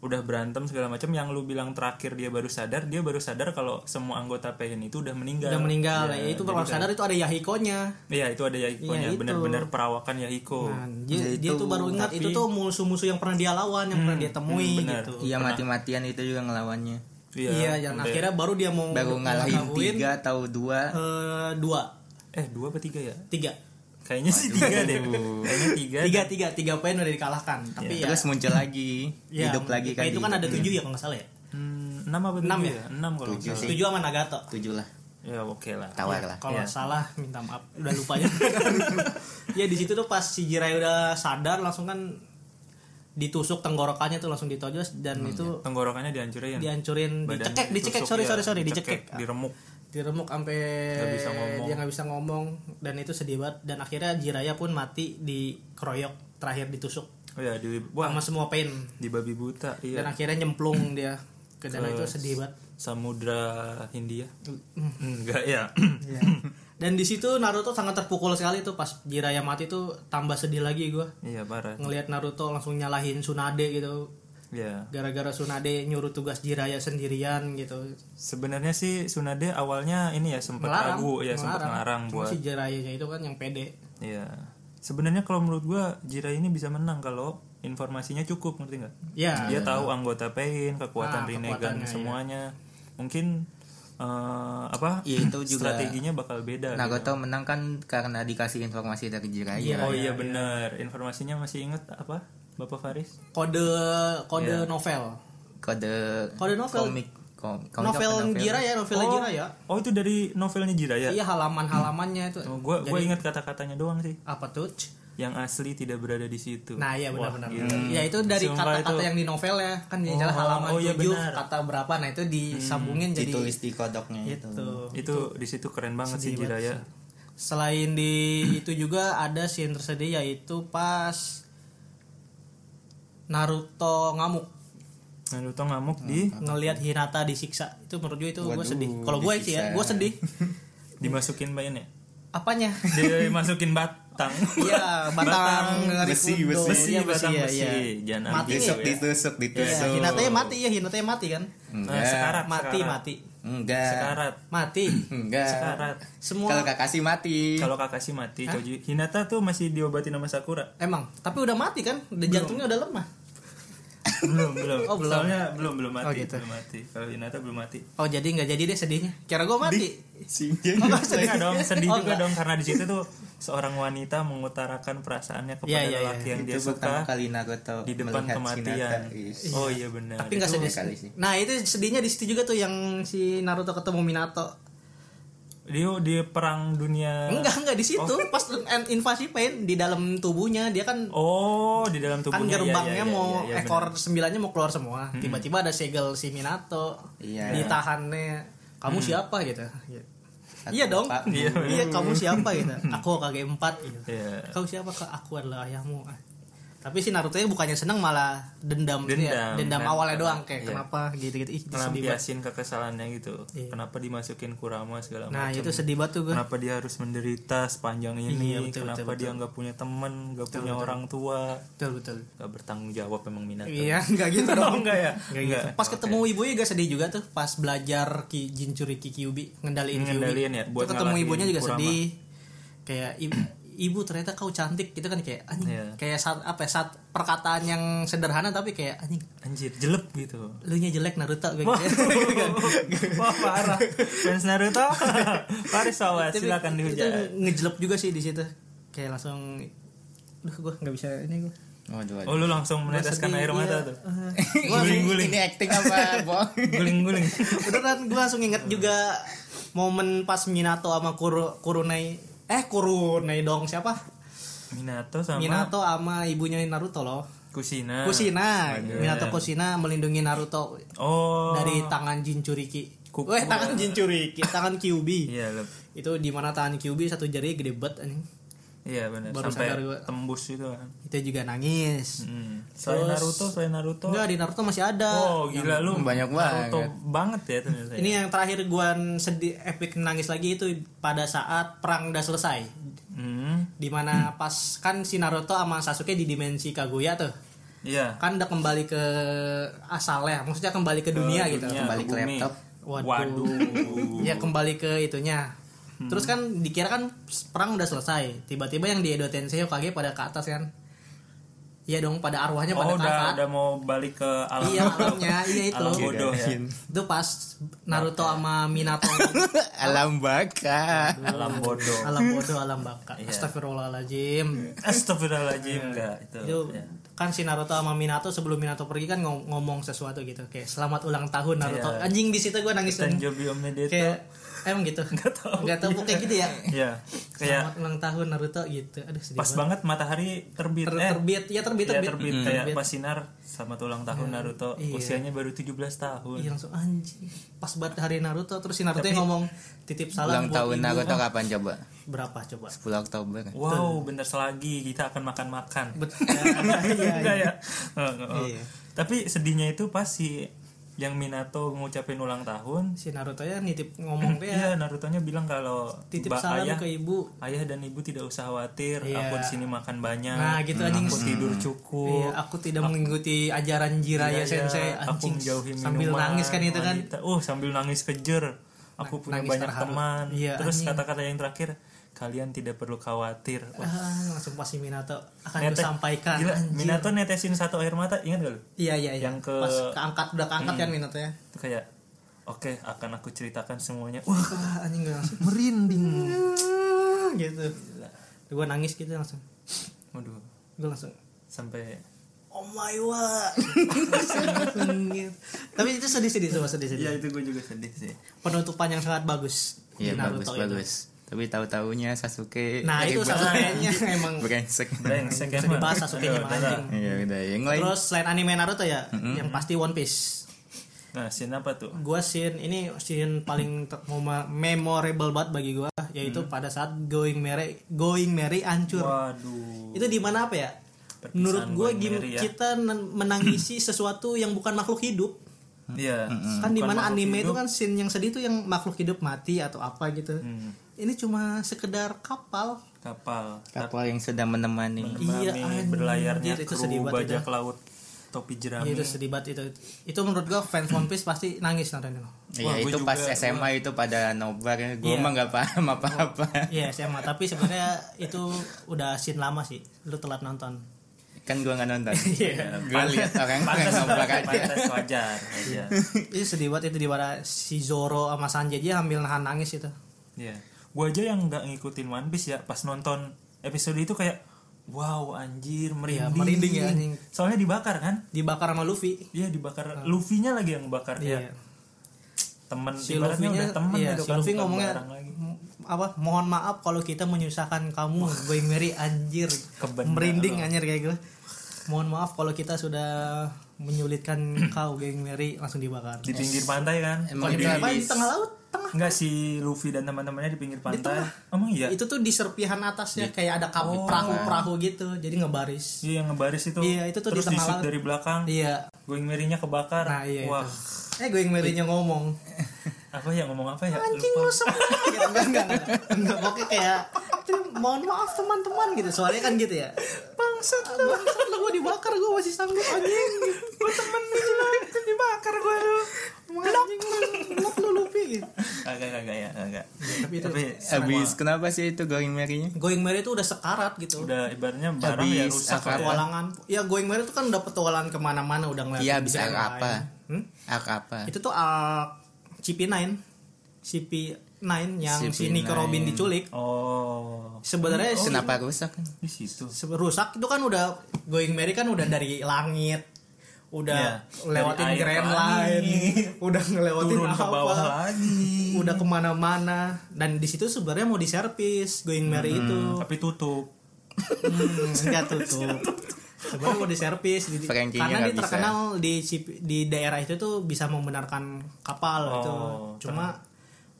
[SPEAKER 2] udah berantem segala macam yang lu bilang terakhir dia baru sadar, dia baru sadar kalau semua anggota Pain itu udah meninggal.
[SPEAKER 1] Udah meninggal. Ya,
[SPEAKER 2] Iya,
[SPEAKER 1] itu
[SPEAKER 2] jadi
[SPEAKER 1] baru
[SPEAKER 2] kayak-
[SPEAKER 1] sadar itu ada Yahikonya.
[SPEAKER 2] Iya, itu ada Yahikonya,
[SPEAKER 1] Iya, itu.
[SPEAKER 2] benar-benar perawakan Yahiko.
[SPEAKER 1] Nah, dia,
[SPEAKER 3] Ya,
[SPEAKER 1] dia
[SPEAKER 3] itu.
[SPEAKER 1] tuh baru ingat itu tuh musuh-musuh yang pernah dia lawan, yang pernah dia temui
[SPEAKER 2] hmm, benar.
[SPEAKER 1] gitu.
[SPEAKER 3] iya mati-matian itu juga ngelawannya
[SPEAKER 1] Iya, yang akhirnya baru dia mau
[SPEAKER 3] baru ngalahin
[SPEAKER 1] ngelakuin,
[SPEAKER 3] tiga atau dua
[SPEAKER 1] eh, dua,
[SPEAKER 2] Eh, dua apa tiga ya?
[SPEAKER 1] tiga,
[SPEAKER 2] Kayaknya sih tiga deh. Kayaknya tiga.
[SPEAKER 1] tiga, tiga, tiga poin udah dikalahkan. Tapi ya,
[SPEAKER 3] Iya. terus muncul lagi
[SPEAKER 1] ya,
[SPEAKER 3] hidup lagi kan
[SPEAKER 1] Itu
[SPEAKER 3] di-
[SPEAKER 1] kan ada tujuh ya kalau nggak salah ya.
[SPEAKER 2] Hmm, enam apa
[SPEAKER 1] Enam
[SPEAKER 2] tujuh
[SPEAKER 1] ya?
[SPEAKER 2] Enam kalau nggak
[SPEAKER 3] Tujuh
[SPEAKER 2] salah.
[SPEAKER 3] sih.
[SPEAKER 1] Tujuh sama Nagato.
[SPEAKER 3] tujuh lah
[SPEAKER 2] Ya, oke lah.
[SPEAKER 3] tawar lah
[SPEAKER 1] Kalau
[SPEAKER 2] Iya.
[SPEAKER 1] salah minta maaf, udah lupa aja. ya di situ tuh pas si Jirai udah sadar langsung kan ditusuk tenggorokannya tuh langsung ditojos dan itu
[SPEAKER 2] Tenggorokannya dihancurin.
[SPEAKER 1] dihancurin,
[SPEAKER 2] Badannya
[SPEAKER 1] dicekek, dicekek,
[SPEAKER 2] iya. ditusuk,
[SPEAKER 1] sorry
[SPEAKER 2] iya,
[SPEAKER 1] sorry sorry, dicekek. Ah.
[SPEAKER 2] diremuk.
[SPEAKER 1] diremuk sampai
[SPEAKER 2] Nggak bisa ngomong.
[SPEAKER 1] dia nggak bisa ngomong dan itu sedih banget dan akhirnya Jiraya pun mati di keroyok terakhir ditusuk
[SPEAKER 2] Oh ya, di wah,
[SPEAKER 1] sama semua pain
[SPEAKER 2] di babi buta, iya.
[SPEAKER 1] dan akhirnya nyemplung dia ke danau
[SPEAKER 2] Ke-
[SPEAKER 1] itu sedih banget
[SPEAKER 2] Samudra Hindia.
[SPEAKER 1] Mm.
[SPEAKER 2] Enggak ya.
[SPEAKER 1] Iya. dan di situ Naruto sangat terpukul sekali tuh pas Jiraya mati tuh tambah sedih lagi gua
[SPEAKER 2] Iya, parah.
[SPEAKER 1] ngelihat Naruto langsung nyalahin Tsunade gitu
[SPEAKER 2] Iya.
[SPEAKER 1] gara-gara Tsunade nyuruh tugas Jiraya sendirian gitu
[SPEAKER 2] Sebenarnya sih Tsunade awalnya ini ya sempat ragu, ya sempat ngarang
[SPEAKER 1] Cuma
[SPEAKER 2] buat
[SPEAKER 1] si Jirayanya itu kan yang pede
[SPEAKER 2] Iya. Sebenarnya kalau menurut gua Jira ini bisa menang kalau informasinya cukup, ngerti nggak?
[SPEAKER 1] ya
[SPEAKER 2] Dia tahu anggota Pain,
[SPEAKER 1] Nah,
[SPEAKER 2] kekuatan Rinnegan semuanya. Mungkin eh, apa?
[SPEAKER 3] Iya, itu juga
[SPEAKER 2] strateginya
[SPEAKER 1] Iya.
[SPEAKER 2] bakal beda. gitu.
[SPEAKER 3] Naruto menang kan karena dikasih informasi dari Jiraiya
[SPEAKER 2] oh iya, benar. Informasinya masih inget apa? Bapak Faris?
[SPEAKER 1] kode kode
[SPEAKER 2] Iya.
[SPEAKER 1] novel
[SPEAKER 3] kode
[SPEAKER 1] Kode novel.
[SPEAKER 3] komik kom, komik apa?
[SPEAKER 1] novel Jiraya, novel Jiraya.
[SPEAKER 2] Oh, itu dari novelnya Jiraya.
[SPEAKER 1] Iya halaman-halamannya itu.
[SPEAKER 2] Oh, gua gua ingat kata-katanya doang sih.
[SPEAKER 1] Apa tuh?
[SPEAKER 2] Yang asli tidak berada di situ.
[SPEAKER 1] Nah, iya benar-benar. Ya itu dari
[SPEAKER 2] Sumpah
[SPEAKER 1] kata-kata
[SPEAKER 2] itu.
[SPEAKER 1] yang di novel ya. Kan di dalam halaman
[SPEAKER 2] oh iya
[SPEAKER 1] 7
[SPEAKER 2] benar. Hmm.
[SPEAKER 1] kata berapa. Nah, itu disambungin jadi gitu.
[SPEAKER 3] ditulis di kodoknya itu
[SPEAKER 1] Tuh.
[SPEAKER 2] itu di situ keren banget sih ya. Jiraya.
[SPEAKER 1] Selain di itu juga ada scene tersedih yaitu pas Naruto ngamuk
[SPEAKER 2] Naruto ngamuk di
[SPEAKER 1] ngelihat Hinata disiksa. Itu menurut gue itu gue sedih. Kalau gue sih ya, gue sedih.
[SPEAKER 2] dimasukin bayan ya?
[SPEAKER 1] Apanya?
[SPEAKER 2] dimasukin batang
[SPEAKER 1] Iya, batang,
[SPEAKER 3] Besi,
[SPEAKER 1] dari kudo.
[SPEAKER 3] besi.
[SPEAKER 1] Iya,
[SPEAKER 2] batang
[SPEAKER 1] iya,
[SPEAKER 2] besi
[SPEAKER 1] iya.
[SPEAKER 2] jangan
[SPEAKER 1] Mati
[SPEAKER 2] ambil. ya.
[SPEAKER 3] ditusuk ditusuk
[SPEAKER 1] Iya,
[SPEAKER 3] ditusuk
[SPEAKER 1] Hinatanya mati ya, Hinatanya mati kan?
[SPEAKER 2] Nah, sekarat
[SPEAKER 1] Mati,
[SPEAKER 2] sekarat.
[SPEAKER 1] mati.
[SPEAKER 3] enggak
[SPEAKER 2] sekarat
[SPEAKER 1] Mati.
[SPEAKER 3] enggak
[SPEAKER 2] sekarat
[SPEAKER 1] Semua
[SPEAKER 3] kalau Kakashi mati
[SPEAKER 2] kalau Kakashi mati Koji- Hinata tuh masih diobati nama Sakura
[SPEAKER 1] emang, tapi udah mati kan? Udah jantungnya udah lemah.
[SPEAKER 2] belum belum
[SPEAKER 1] Oh, belum.
[SPEAKER 2] soalnya belum belum mati
[SPEAKER 1] Oh, gitu.
[SPEAKER 2] belum mati kalau Hinata belum mati
[SPEAKER 1] Oh, jadi nggak jadi deh sedihnya. Kira gue mati.
[SPEAKER 3] Shinji
[SPEAKER 1] Oh, nggak sedih.
[SPEAKER 2] Enggak dong sedih
[SPEAKER 1] Oh,
[SPEAKER 2] juga
[SPEAKER 1] nggak.
[SPEAKER 2] dong karena di situ tuh seorang wanita mengutarakan perasaannya kepada
[SPEAKER 1] Iya, iya, iya.
[SPEAKER 2] lelaki yang dia
[SPEAKER 3] itu pertama
[SPEAKER 2] suka
[SPEAKER 3] kali Naruto
[SPEAKER 2] di depan
[SPEAKER 3] melihat
[SPEAKER 2] kematian
[SPEAKER 3] Hinata. Is.
[SPEAKER 2] oh iya benar
[SPEAKER 1] Tapi nggak
[SPEAKER 2] Itu-
[SPEAKER 1] sedih.
[SPEAKER 3] sekali sih.
[SPEAKER 1] Nah, itu sedihnya di situ juga tuh yang si Naruto ketemu Minato.
[SPEAKER 2] dia di perang dunia
[SPEAKER 1] Enggak, enggak di situ. Pas en- invasi Pain di dalam tubuhnya dia kan
[SPEAKER 2] oh di dalam
[SPEAKER 1] kan
[SPEAKER 2] tubuhnya iya, iya,
[SPEAKER 1] gerbangnya
[SPEAKER 2] iya,
[SPEAKER 1] mau
[SPEAKER 2] iya, Hmm. iya,
[SPEAKER 1] ekor sembilannya mau keluar semua. Tiba-tiba ada segel si Minato.
[SPEAKER 3] Iya.
[SPEAKER 1] Ditahannya. Kamu
[SPEAKER 2] Hmm.
[SPEAKER 1] siapa gitu. Iya dong.
[SPEAKER 3] Pak.
[SPEAKER 1] Iya, kamu siapa gitu. Aku kakek empat gitu.
[SPEAKER 2] Iya.
[SPEAKER 1] Kau siapa kak? Aku adalah ayahmu. Ah. Tapi si Naruto nya bukannya seneng malah dendam, gitu ya.
[SPEAKER 2] Dendam.
[SPEAKER 1] dendam awalnya doang kayak
[SPEAKER 2] Iya.
[SPEAKER 1] kenapa gitu-gitu. Ih, sedih banget.
[SPEAKER 2] ngelampiasin kekesalannya gitu. Kenapa dimasukin Kurama segala
[SPEAKER 1] Iya. Nah,
[SPEAKER 2] macam.
[SPEAKER 1] itu sedih banget tuh gue.
[SPEAKER 2] Iya, Kenapa dia harus menderita sepanjang ini?
[SPEAKER 1] Iya, betul,
[SPEAKER 2] Kenapa
[SPEAKER 1] betul,
[SPEAKER 2] dia nggak punya temen, nggak punya orang tua?
[SPEAKER 1] Betul betul.
[SPEAKER 2] Gak bertanggung jawab emang minat.
[SPEAKER 1] Iya, enggak gitu dong.
[SPEAKER 2] enggak ya?
[SPEAKER 1] Nggak gitu. Pas ketemu ibunya juga sedih juga tuh pas belajar ki Jinchuri Kikyubi ngendaliin Kyuubi.
[SPEAKER 2] Ngendaliin ya, buat
[SPEAKER 1] Itu ketemu
[SPEAKER 2] ngalahin
[SPEAKER 1] ibunya juga
[SPEAKER 2] Kurama.
[SPEAKER 1] sedih. Kayak ibu, ibu ternyata kau cantik gitu kan kayak anjing.
[SPEAKER 2] Iya.
[SPEAKER 1] Kayak saat apa ya, saat perkataan yang sederhana tapi kayak anjing
[SPEAKER 2] Anjir, jelek gitu.
[SPEAKER 1] lu nya jelek Naruto gue
[SPEAKER 2] Wah,
[SPEAKER 1] gitu.
[SPEAKER 2] wah parah. Fans Naruto. Paris Sawa,
[SPEAKER 1] Tapi
[SPEAKER 2] silakan
[SPEAKER 1] itu
[SPEAKER 2] dihujat.
[SPEAKER 1] ngejelek juga sih di situ kayak langsung duh gue nggak bisa ini gue
[SPEAKER 3] Waduh, waduh.
[SPEAKER 2] Oh, lu langsung meneteskan
[SPEAKER 1] sedih,
[SPEAKER 2] air
[SPEAKER 1] iya.
[SPEAKER 2] mata tuh.
[SPEAKER 3] ini, ini acting apa bohong
[SPEAKER 2] Guling-guling.
[SPEAKER 1] kan? beneran gue langsung inget juga momen pas Minato sama Kuro Kurunai eh Kurunai dong siapa?
[SPEAKER 2] Minato sama Ah,
[SPEAKER 1] Minato sama ibunya Naruto loh.
[SPEAKER 2] Kusina.
[SPEAKER 1] Kusina, Minato Kusina melindungi Naruto
[SPEAKER 2] Oh.
[SPEAKER 1] dari tangan Jinchuriki.
[SPEAKER 2] Ku-
[SPEAKER 1] Eh tangan Jinchuriki, tangan Kyubi.
[SPEAKER 2] Iya, Lep.
[SPEAKER 1] Itu di mana tangan Kyubi satu jari gede banget anjing.
[SPEAKER 2] Iya benar.
[SPEAKER 1] Baru
[SPEAKER 2] Sampai
[SPEAKER 1] sadar gua.
[SPEAKER 2] tembus gitu kan.
[SPEAKER 1] Itu juga nangis.
[SPEAKER 2] Hmm. Selain
[SPEAKER 1] Terus-
[SPEAKER 2] Naruto, selain Naruto.
[SPEAKER 1] Enggak, di Naruto masih ada.
[SPEAKER 2] Oh, gila lu.
[SPEAKER 3] Banyak banget.
[SPEAKER 2] Naruto banget ya ternyata. ya.
[SPEAKER 1] Ini yang terakhir gua sedih epic nangis lagi itu pada saat perang udah selesai.
[SPEAKER 2] Hmm.
[SPEAKER 1] Dimana pas kan si Naruto sama Sasuke di dimensi Kaguya tuh.
[SPEAKER 2] Iya.
[SPEAKER 1] Kan udah kembali ke asalnya, maksudnya kembali ke dunia, gitu.
[SPEAKER 2] Dunia,
[SPEAKER 3] Kembali ke
[SPEAKER 2] Iya, bumi.
[SPEAKER 3] laptop.
[SPEAKER 1] Waduh.
[SPEAKER 2] Waduh.
[SPEAKER 1] Ya kembali ke itunya.
[SPEAKER 2] Hmm.
[SPEAKER 1] Terus kan dikira kan perang udah selesai. Tiba-tiba yang di Edo Tensei Hokage pada ke atas kan. Iya dong pada arwahnya
[SPEAKER 2] Oh,
[SPEAKER 1] pada ke
[SPEAKER 2] udah
[SPEAKER 1] atas.
[SPEAKER 2] udah mau balik ke alam.
[SPEAKER 1] Iya alamnya, iya itu.
[SPEAKER 2] Alam bodoh ya.
[SPEAKER 1] Itu pas Naruto sama Minato
[SPEAKER 3] Alam baka.
[SPEAKER 2] Alam bodoh.
[SPEAKER 1] alam bodoh alam baka.
[SPEAKER 2] Iya.
[SPEAKER 1] Astagfirullahaladzim. Iya.
[SPEAKER 2] Astagfirullahaladzim enggak itu.
[SPEAKER 1] Itu
[SPEAKER 2] ya.
[SPEAKER 1] kan si Naruto sama Minato sebelum Minato pergi kan ngom- ngomong sesuatu gitu kayak selamat ulang tahun Naruto.
[SPEAKER 2] Iya.
[SPEAKER 1] Anjing di situ gue nangis
[SPEAKER 2] Dan Jobi Om Medeto.
[SPEAKER 1] kayak emang gitu. Gak
[SPEAKER 2] tahu.
[SPEAKER 1] Gak tahu kayak gitu ya.
[SPEAKER 2] Iya.
[SPEAKER 1] Selamat
[SPEAKER 2] Kayak
[SPEAKER 1] ulang tahun Naruto gitu. Aduh sedih
[SPEAKER 2] pas
[SPEAKER 1] banget.
[SPEAKER 2] banget matahari terbit
[SPEAKER 1] Ter-
[SPEAKER 2] eh
[SPEAKER 1] terbit ya terbit
[SPEAKER 2] Iya,
[SPEAKER 1] terbit.
[SPEAKER 2] terbit kayak pas sinar sama tulang tahun Naruto
[SPEAKER 1] Iya.
[SPEAKER 2] usianya baru 17 tahun.
[SPEAKER 1] Iya, langsung anjing. Pas banget hari Naruto terus si Naruto yang ngomong titip salam
[SPEAKER 3] Ulang
[SPEAKER 1] buat
[SPEAKER 3] tahun
[SPEAKER 1] ibu.
[SPEAKER 3] Naruto kapan coba?
[SPEAKER 1] berapa coba?
[SPEAKER 3] 10 Oktober.
[SPEAKER 1] Oh,
[SPEAKER 2] Wow, bentar selagi kita akan makan-makan.
[SPEAKER 1] Betul.
[SPEAKER 2] Enggak ya? Enggak, enggak.
[SPEAKER 1] Iya.
[SPEAKER 2] Tapi sedihnya itu pas si yang Minato ngucapin ulang tahun,
[SPEAKER 1] si Naruto ya nitip ngomong kayak
[SPEAKER 2] iya Narutonya bilang kalau
[SPEAKER 1] titip
[SPEAKER 2] "Mbak,
[SPEAKER 1] salam
[SPEAKER 2] ayah,
[SPEAKER 1] ke ibu.
[SPEAKER 2] ayah dan ibu tidak usah khawatir,
[SPEAKER 1] Iya.
[SPEAKER 2] aku di sini makan banyak.
[SPEAKER 1] Nah, gitu anjing.
[SPEAKER 2] Aku tidur cukup.
[SPEAKER 1] Iya, aku tidak mengikuti ajaran Jiraya
[SPEAKER 2] Iya,
[SPEAKER 1] Sensei
[SPEAKER 2] iya,
[SPEAKER 1] anjing
[SPEAKER 2] aku menjauhi minuman,
[SPEAKER 1] sambil nangis kan itu kan.
[SPEAKER 2] wanita. Oh, sambil nangis kejer. Aku punya
[SPEAKER 1] nangis
[SPEAKER 2] banyak
[SPEAKER 1] terharu.
[SPEAKER 2] teman.
[SPEAKER 1] Iya,
[SPEAKER 2] Terus
[SPEAKER 1] anjing.
[SPEAKER 2] kata-kata yang terakhir, kalian tidak perlu khawatir. Wah,
[SPEAKER 1] Ah, langsung pas si Minato akan
[SPEAKER 2] nete-
[SPEAKER 1] disampaikan.
[SPEAKER 2] Gila, Minato netesin satu air mata, ingat gak lu?
[SPEAKER 1] Iya iya iya.
[SPEAKER 2] Yang ke- Hmm.
[SPEAKER 1] Pas keangkat udah keangkat kan Minato ya.
[SPEAKER 2] Itu kayak Oke, akan aku ceritakan semuanya. Wah,
[SPEAKER 1] Wah, anjing gue langsung merinding. gitu. Gue nangis gitu langsung.
[SPEAKER 2] waduh,
[SPEAKER 1] Gue langsung
[SPEAKER 2] sampai
[SPEAKER 1] Oh my god. Tapi itu sedih-sedih cuma sedih-sedih.
[SPEAKER 2] Iya, itu gue juga sedih sih.
[SPEAKER 1] Penutupan yang sangat bagus. di
[SPEAKER 3] Iya bagus
[SPEAKER 1] Naruto itu.
[SPEAKER 3] bagus. Tapi tahu-taunya Sasuke.
[SPEAKER 1] Nah, itu
[SPEAKER 3] ribet.
[SPEAKER 1] Sasuke-nya emang
[SPEAKER 3] brengsek.
[SPEAKER 2] Brengsek
[SPEAKER 1] bisa
[SPEAKER 2] emang.
[SPEAKER 1] dibahas Sasuke-nya
[SPEAKER 2] Aduh,
[SPEAKER 1] emang anjing.
[SPEAKER 3] Iya udah yang lain.
[SPEAKER 1] Terus selain anime Naruto ya, yang pasti One Piece.
[SPEAKER 2] Nah, scene apa tuh?
[SPEAKER 1] Gua scene ini scene paling te- moma- memorable banget bagi gua yaitu
[SPEAKER 2] Hmm.
[SPEAKER 1] pada saat Going Merry Going Merry hancur.
[SPEAKER 2] Waduh.
[SPEAKER 1] Itu di mana apa ya? Menurut gua
[SPEAKER 2] Going
[SPEAKER 1] gim-
[SPEAKER 2] Merry ya.
[SPEAKER 1] kita nen- menangisi sesuatu yang bukan makhluk hidup.
[SPEAKER 2] Iya.
[SPEAKER 1] Kan di
[SPEAKER 2] Bukan
[SPEAKER 1] mana
[SPEAKER 2] makhluk
[SPEAKER 1] anime itu
[SPEAKER 2] hidup.
[SPEAKER 1] kan scene yang sedih itu yang makhluk hidup mati atau apa gitu.
[SPEAKER 2] Hmm.
[SPEAKER 1] Ini cuma sekedar kapal.
[SPEAKER 2] kapal.
[SPEAKER 3] Kapal yang sedang
[SPEAKER 1] Iya,
[SPEAKER 3] menemani.
[SPEAKER 2] Tsunami,
[SPEAKER 1] anjir,
[SPEAKER 2] berlayarnya
[SPEAKER 1] itu
[SPEAKER 2] kru
[SPEAKER 1] sedih banget
[SPEAKER 2] bajak laut topi jerami.
[SPEAKER 1] Iya, itu sedih banget itu. Itu menurut gua fans One Piece pasti nangis nonton itu.
[SPEAKER 2] Wah,
[SPEAKER 3] Iya
[SPEAKER 2] gua
[SPEAKER 3] itu pas
[SPEAKER 2] juga,
[SPEAKER 3] SMA itu pada nobar. Gue
[SPEAKER 1] Iya.
[SPEAKER 3] mah nggak paham apa-apa.
[SPEAKER 1] Iya SMA tapi sebenarnya itu udah scene lama sih. Lu telat nonton.
[SPEAKER 3] Kan gue nggak nonton. Gue lihat orang orang
[SPEAKER 2] Pantas,
[SPEAKER 3] nobar
[SPEAKER 2] pantas,
[SPEAKER 3] aja.
[SPEAKER 2] pantas, wajar, Iya. wajar.
[SPEAKER 1] itu Iya, sedih banget itu di mana si Zoro sama Sanji aja ambil nahan nangis itu.
[SPEAKER 2] Iya. Gua aja yang nggak ngikutin One Piece ya pas nonton episode itu kayak wow anjir merinding.
[SPEAKER 1] merinding ya, anjing.
[SPEAKER 2] Soalnya dibakar kan?
[SPEAKER 1] Dibakar sama Luffy.
[SPEAKER 2] Iya dibakar. Luffy-nya lagi yang ngebakar
[SPEAKER 1] Iya.
[SPEAKER 2] ya. Temen
[SPEAKER 1] Si
[SPEAKER 2] ibaratnya
[SPEAKER 1] Luffy-nya
[SPEAKER 2] udah temen
[SPEAKER 1] iya,
[SPEAKER 2] gitu
[SPEAKER 1] si
[SPEAKER 2] kan,
[SPEAKER 1] Luffy
[SPEAKER 2] bukan
[SPEAKER 1] ngomongnya
[SPEAKER 2] barang lagi.
[SPEAKER 1] "M- apa mohon maaf kalau kita menyusahkan kamu gue Mary anjir
[SPEAKER 2] Kebenda
[SPEAKER 1] merinding
[SPEAKER 2] lo.
[SPEAKER 1] anjir kayak gue mohon maaf kalau kita sudah menyulitkan kau geng Mary langsung dibakar Iya.
[SPEAKER 2] di pinggir pantai kan.
[SPEAKER 3] Emang
[SPEAKER 1] Di
[SPEAKER 3] itu
[SPEAKER 1] apa? Di
[SPEAKER 3] habis.
[SPEAKER 1] tengah laut tengah
[SPEAKER 2] Enggak si Luffy dan teman-temannya di pinggir pantai. Emang iya. Oh.
[SPEAKER 1] itu tuh di serpihan atasnya kayak ada kapal perahu-perahu gitu jadi ngebaris
[SPEAKER 2] Iya yang ngebaris itu.
[SPEAKER 1] Iya, itu tuh di
[SPEAKER 2] Terus
[SPEAKER 1] tengah
[SPEAKER 2] di-shoot
[SPEAKER 1] laut.
[SPEAKER 2] dari belakang.
[SPEAKER 1] iya
[SPEAKER 2] Going Merry-nya kebakar.
[SPEAKER 1] nah iya
[SPEAKER 2] Wah,
[SPEAKER 1] itu eh gue yang Mary-nya ngomong
[SPEAKER 2] apa ya ngomong apa ya?
[SPEAKER 1] anjing
[SPEAKER 2] Lupa.
[SPEAKER 1] lu semua gitu enggak enggak enggak. enggak pokoknya kayak "Tim, mohon maaf teman-teman gitu soalnya kan gitu ya bangsat lu bangsat lu gue dibakar gue masih sanggup anjing gue temen lu gitu dibakar gue lu anjing lu blok lu lupi gitu
[SPEAKER 2] Kagak kagak ya, kagak.
[SPEAKER 1] tapi itu
[SPEAKER 2] Tapi
[SPEAKER 3] Habis kenapa sih itu going merry-nya?
[SPEAKER 1] going merry itu udah sekarat gitu udah
[SPEAKER 2] udah ibaratnya barang ya
[SPEAKER 3] Habis
[SPEAKER 2] rusak
[SPEAKER 3] apa?
[SPEAKER 2] lah.
[SPEAKER 1] petualangan ya going merry itu kan udah petualangan kemana-mana udah ngeliat
[SPEAKER 3] Iya habis arc apa?
[SPEAKER 1] Hmm?
[SPEAKER 3] Arc apa?
[SPEAKER 1] itu tuh ah, arc CP9 CP9 yang si Nico
[SPEAKER 3] CP9.
[SPEAKER 1] Robin diculik
[SPEAKER 2] Oh, Hmm.
[SPEAKER 1] sebenarnya si-
[SPEAKER 3] Kenapa rusak?
[SPEAKER 2] di situ.
[SPEAKER 1] Se- rusak itu kan udah going merry kan udah dari langit udah
[SPEAKER 2] Iya.
[SPEAKER 1] lewatin
[SPEAKER 2] Dari air
[SPEAKER 1] grand
[SPEAKER 2] lagi.
[SPEAKER 1] line udah ngelewatin
[SPEAKER 2] turun
[SPEAKER 1] apa
[SPEAKER 2] ke bawah lagi
[SPEAKER 1] udah kemana-mana dan di situ sebenarnya mau diservis going merry
[SPEAKER 2] Hmm.
[SPEAKER 1] itu
[SPEAKER 2] tapi tutup
[SPEAKER 1] Hmm, nggak tutup sebenarnya mau diservis di,
[SPEAKER 3] Frankie-nya
[SPEAKER 1] karena
[SPEAKER 3] nggak
[SPEAKER 1] dia
[SPEAKER 3] bisa.
[SPEAKER 1] terkenal
[SPEAKER 2] ya?
[SPEAKER 1] di Cip- di daerah itu tuh bisa membenarkan kapal
[SPEAKER 2] Oh,
[SPEAKER 1] gitu cuma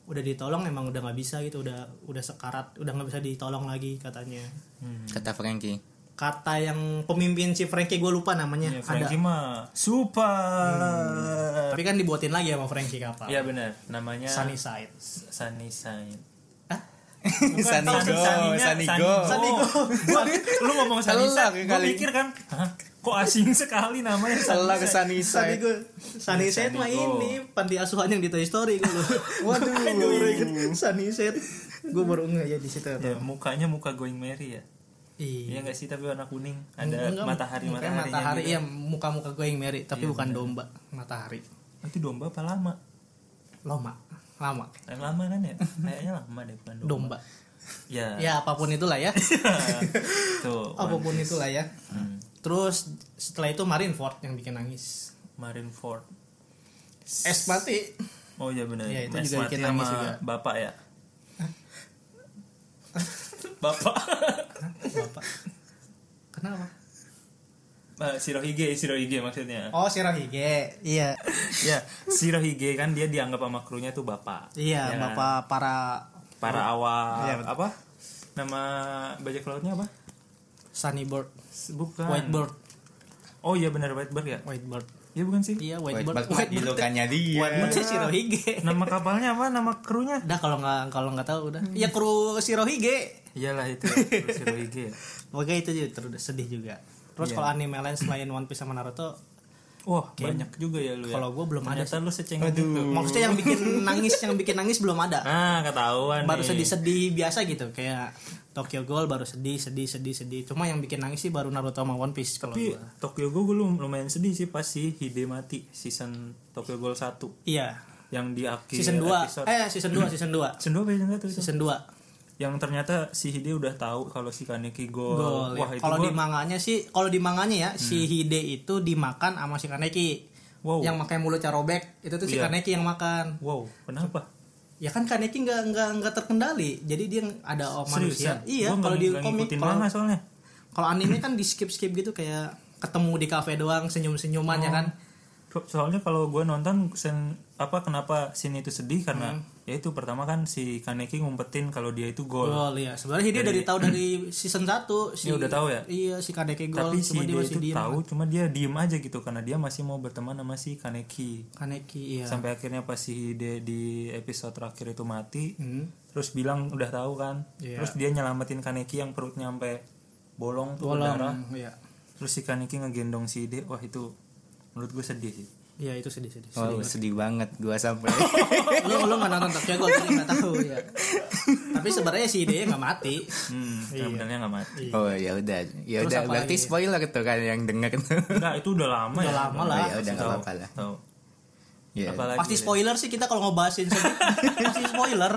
[SPEAKER 1] udah ditolong emang udah nggak bisa gitu udah udah sekarat udah nggak bisa ditolong lagi katanya
[SPEAKER 3] Kata Frankie.
[SPEAKER 1] kata yang pemimpin si Frankie gue lupa namanya
[SPEAKER 2] ya,
[SPEAKER 1] ada
[SPEAKER 2] Frankie mah super
[SPEAKER 1] tapi kan dibuatin lagi sama Frankie kapal
[SPEAKER 2] Iya benar namanya
[SPEAKER 1] Sunny Side
[SPEAKER 2] Sunny Side
[SPEAKER 3] Sanigo, Sanigo.
[SPEAKER 2] Sanigo. lu ngomong
[SPEAKER 3] Salah
[SPEAKER 2] Sanisa, gue
[SPEAKER 3] kali.
[SPEAKER 2] mikir kan, "Hah, kok asing sekali namanya
[SPEAKER 3] Salah ke
[SPEAKER 2] Sanisa.
[SPEAKER 1] Sunny
[SPEAKER 3] Sunnyside.
[SPEAKER 1] gue Sunny Side mah
[SPEAKER 2] Go.
[SPEAKER 1] ini panti asuhan yang di Toy Story gue
[SPEAKER 3] Waduh.
[SPEAKER 1] iya, kan. Sunny Side gue baru nggak ya di situ
[SPEAKER 2] Ya, mukanya muka going merry ya.
[SPEAKER 1] Iya.
[SPEAKER 2] Iya nggak sih tapi warna kuning, ada gitu.
[SPEAKER 1] Enggak,
[SPEAKER 2] matahari
[SPEAKER 1] mukanya
[SPEAKER 2] matahari.
[SPEAKER 1] matahari iya muka-muka gue yang merit tapi bukan domba matahari
[SPEAKER 2] Itu domba apa lama?
[SPEAKER 1] loma lama
[SPEAKER 2] Eh, lama kan ya? Kayaknya lama deh bukan domba.
[SPEAKER 1] domba
[SPEAKER 2] Ya.
[SPEAKER 1] ya apapun itulah ya
[SPEAKER 2] Tuh.
[SPEAKER 1] apapun itulah ya terus setelah itu Marineford yang bikin nangis
[SPEAKER 2] Marineford.
[SPEAKER 1] es mati
[SPEAKER 2] Oh iya benar.
[SPEAKER 1] Iya, itu
[SPEAKER 2] Mas
[SPEAKER 1] juga
[SPEAKER 2] Mati
[SPEAKER 1] bikin nangis
[SPEAKER 2] sama
[SPEAKER 1] juga.
[SPEAKER 2] Bapak ya. Bapak
[SPEAKER 1] Bapak. kenapa
[SPEAKER 2] Eh, Shirohige, Shirohige maksudnya.
[SPEAKER 1] oh Shirohige iya
[SPEAKER 2] ya Shirohige kan dia dianggap sama krunya tuh bapak
[SPEAKER 1] iya
[SPEAKER 2] Ya kan?
[SPEAKER 1] bapak para
[SPEAKER 2] para awak
[SPEAKER 1] Iya, betul.
[SPEAKER 2] apa nama bajak lautnya apa
[SPEAKER 1] Sunnybird
[SPEAKER 2] S- bukan
[SPEAKER 1] Whitebird
[SPEAKER 2] oh iya benar Whitebird ya
[SPEAKER 1] Whitebird
[SPEAKER 2] iya bukan sih
[SPEAKER 1] iya
[SPEAKER 3] White
[SPEAKER 1] Whitebird
[SPEAKER 3] Bird mah di
[SPEAKER 1] Whitebird
[SPEAKER 3] lukanya dia.
[SPEAKER 1] Whitebird sih Shirohige
[SPEAKER 2] nama kapalnya apa nama krunya
[SPEAKER 1] udah kalau nggak kalau nggak tahu udah ya kru Shirohige
[SPEAKER 2] iyalah itu ya, kru Shirohige ya.
[SPEAKER 1] Oke itu juga terus sedih juga. Terus kalau anime lain selain One Piece sama Naruto,
[SPEAKER 2] wah banyak juga ya lu ya
[SPEAKER 1] Kalau gua belum ada
[SPEAKER 2] ternyata lu secengin itu
[SPEAKER 1] maksudnya yang bikin nangis yang bikin nangis belum ada.
[SPEAKER 2] ah ketahuan
[SPEAKER 1] Baru
[SPEAKER 2] nih.
[SPEAKER 1] sedih-sedih biasa gitu kayak Tokyo Ghoul baru sedih sedih sedih sedih. Cuma yang bikin nangis sih baru Naruto sama One Piece kalau
[SPEAKER 2] tapi
[SPEAKER 1] gua.
[SPEAKER 2] Tokyo Ghoul gue lumayan sedih sih pas si Hide mati season Tokyo Ghoul 1
[SPEAKER 1] Iya,
[SPEAKER 2] yang di akhir
[SPEAKER 1] season 2.
[SPEAKER 2] episode.
[SPEAKER 1] Eh, season 2, season 2.
[SPEAKER 2] season 2 apa season 1 itu?
[SPEAKER 1] Season 2.
[SPEAKER 2] yang ternyata si Hide udah tahu kalau si Kaneki gol.
[SPEAKER 1] Ghoul.
[SPEAKER 2] Oh, Wah,
[SPEAKER 1] ya.
[SPEAKER 2] itu
[SPEAKER 1] Kalau
[SPEAKER 2] gua-
[SPEAKER 1] di manganya sih, kalau di manganya ya si Hide itu dimakan sama si Kaneki.
[SPEAKER 2] Wow.
[SPEAKER 1] Yang pakai mulutnya robek, itu tuh si
[SPEAKER 2] Iya.
[SPEAKER 1] Kaneki yang makan.
[SPEAKER 2] Wow, kenapa?
[SPEAKER 1] ya kan Kaneki nggak nggak nggak terkendali jadi dia ada oh, manusia
[SPEAKER 2] Seriusan?
[SPEAKER 1] iya
[SPEAKER 2] Gua nggak-
[SPEAKER 1] kalau di
[SPEAKER 2] nggak
[SPEAKER 1] komik
[SPEAKER 2] ngikutin
[SPEAKER 1] kalau
[SPEAKER 2] manga soalnya.
[SPEAKER 1] kalau anime kan di skip skip gitu kayak ketemu di kafe doang senyum senyuman
[SPEAKER 2] Oh.
[SPEAKER 1] ya kan
[SPEAKER 2] So- Soalnya kalau gue nonton sen, apa kenapa sini itu sedih
[SPEAKER 1] Hmm.
[SPEAKER 2] karena ya itu pertama kan si Kaneki ngumpetin kalau dia itu gol.
[SPEAKER 1] gol ya sebenarnya dia dari tahu dari season 1 si
[SPEAKER 2] Dia udah tahu ya?
[SPEAKER 1] iya si Kaneki gol
[SPEAKER 2] Tapi si
[SPEAKER 1] cuma dia
[SPEAKER 2] Hide
[SPEAKER 1] masih
[SPEAKER 2] itu
[SPEAKER 1] diem kan?
[SPEAKER 2] tahu cuma dia diem aja gitu karena dia masih mau berteman sama si Kaneki.
[SPEAKER 1] Kaneki iya
[SPEAKER 2] Sampai akhirnya pas si Hide di episode terakhir itu mati,
[SPEAKER 1] Hmm.
[SPEAKER 2] terus bilang udah tahu kan.
[SPEAKER 1] Iya.
[SPEAKER 2] Terus dia nyelamatin Kaneki yang perutnya sampai bolong tuh berdarah.
[SPEAKER 1] bolong iya
[SPEAKER 2] terus si Kaneki ngegendong si Ide wah itu menurut gue sedih sih
[SPEAKER 1] iya itu sedih sedih
[SPEAKER 3] Wow, Oh, sedih banget gua sampai.
[SPEAKER 1] lo lo nggak nonton Tokyo Ghoul jadi nggak tahu ya tapi sebenarnya si ide nggak mati
[SPEAKER 2] hmm,
[SPEAKER 1] Iya.
[SPEAKER 2] sebenarnya nggak mati
[SPEAKER 3] Oh ya udah, ya
[SPEAKER 1] Terus
[SPEAKER 3] udah.
[SPEAKER 1] apa
[SPEAKER 3] Berarti
[SPEAKER 1] lagi?
[SPEAKER 3] spoiler tuh kan yang denger tuh.
[SPEAKER 2] Enggak, itu udah lama ya
[SPEAKER 1] Iya. udah lama
[SPEAKER 3] Oh,
[SPEAKER 1] lah
[SPEAKER 3] ya udah nggak
[SPEAKER 2] Tahu,
[SPEAKER 3] apa-apa lah.
[SPEAKER 2] tahu.
[SPEAKER 3] Ya.
[SPEAKER 2] apalagi
[SPEAKER 1] Pasti spoiler sih kita kalau ngebahasin sedih. Pasti spoiler.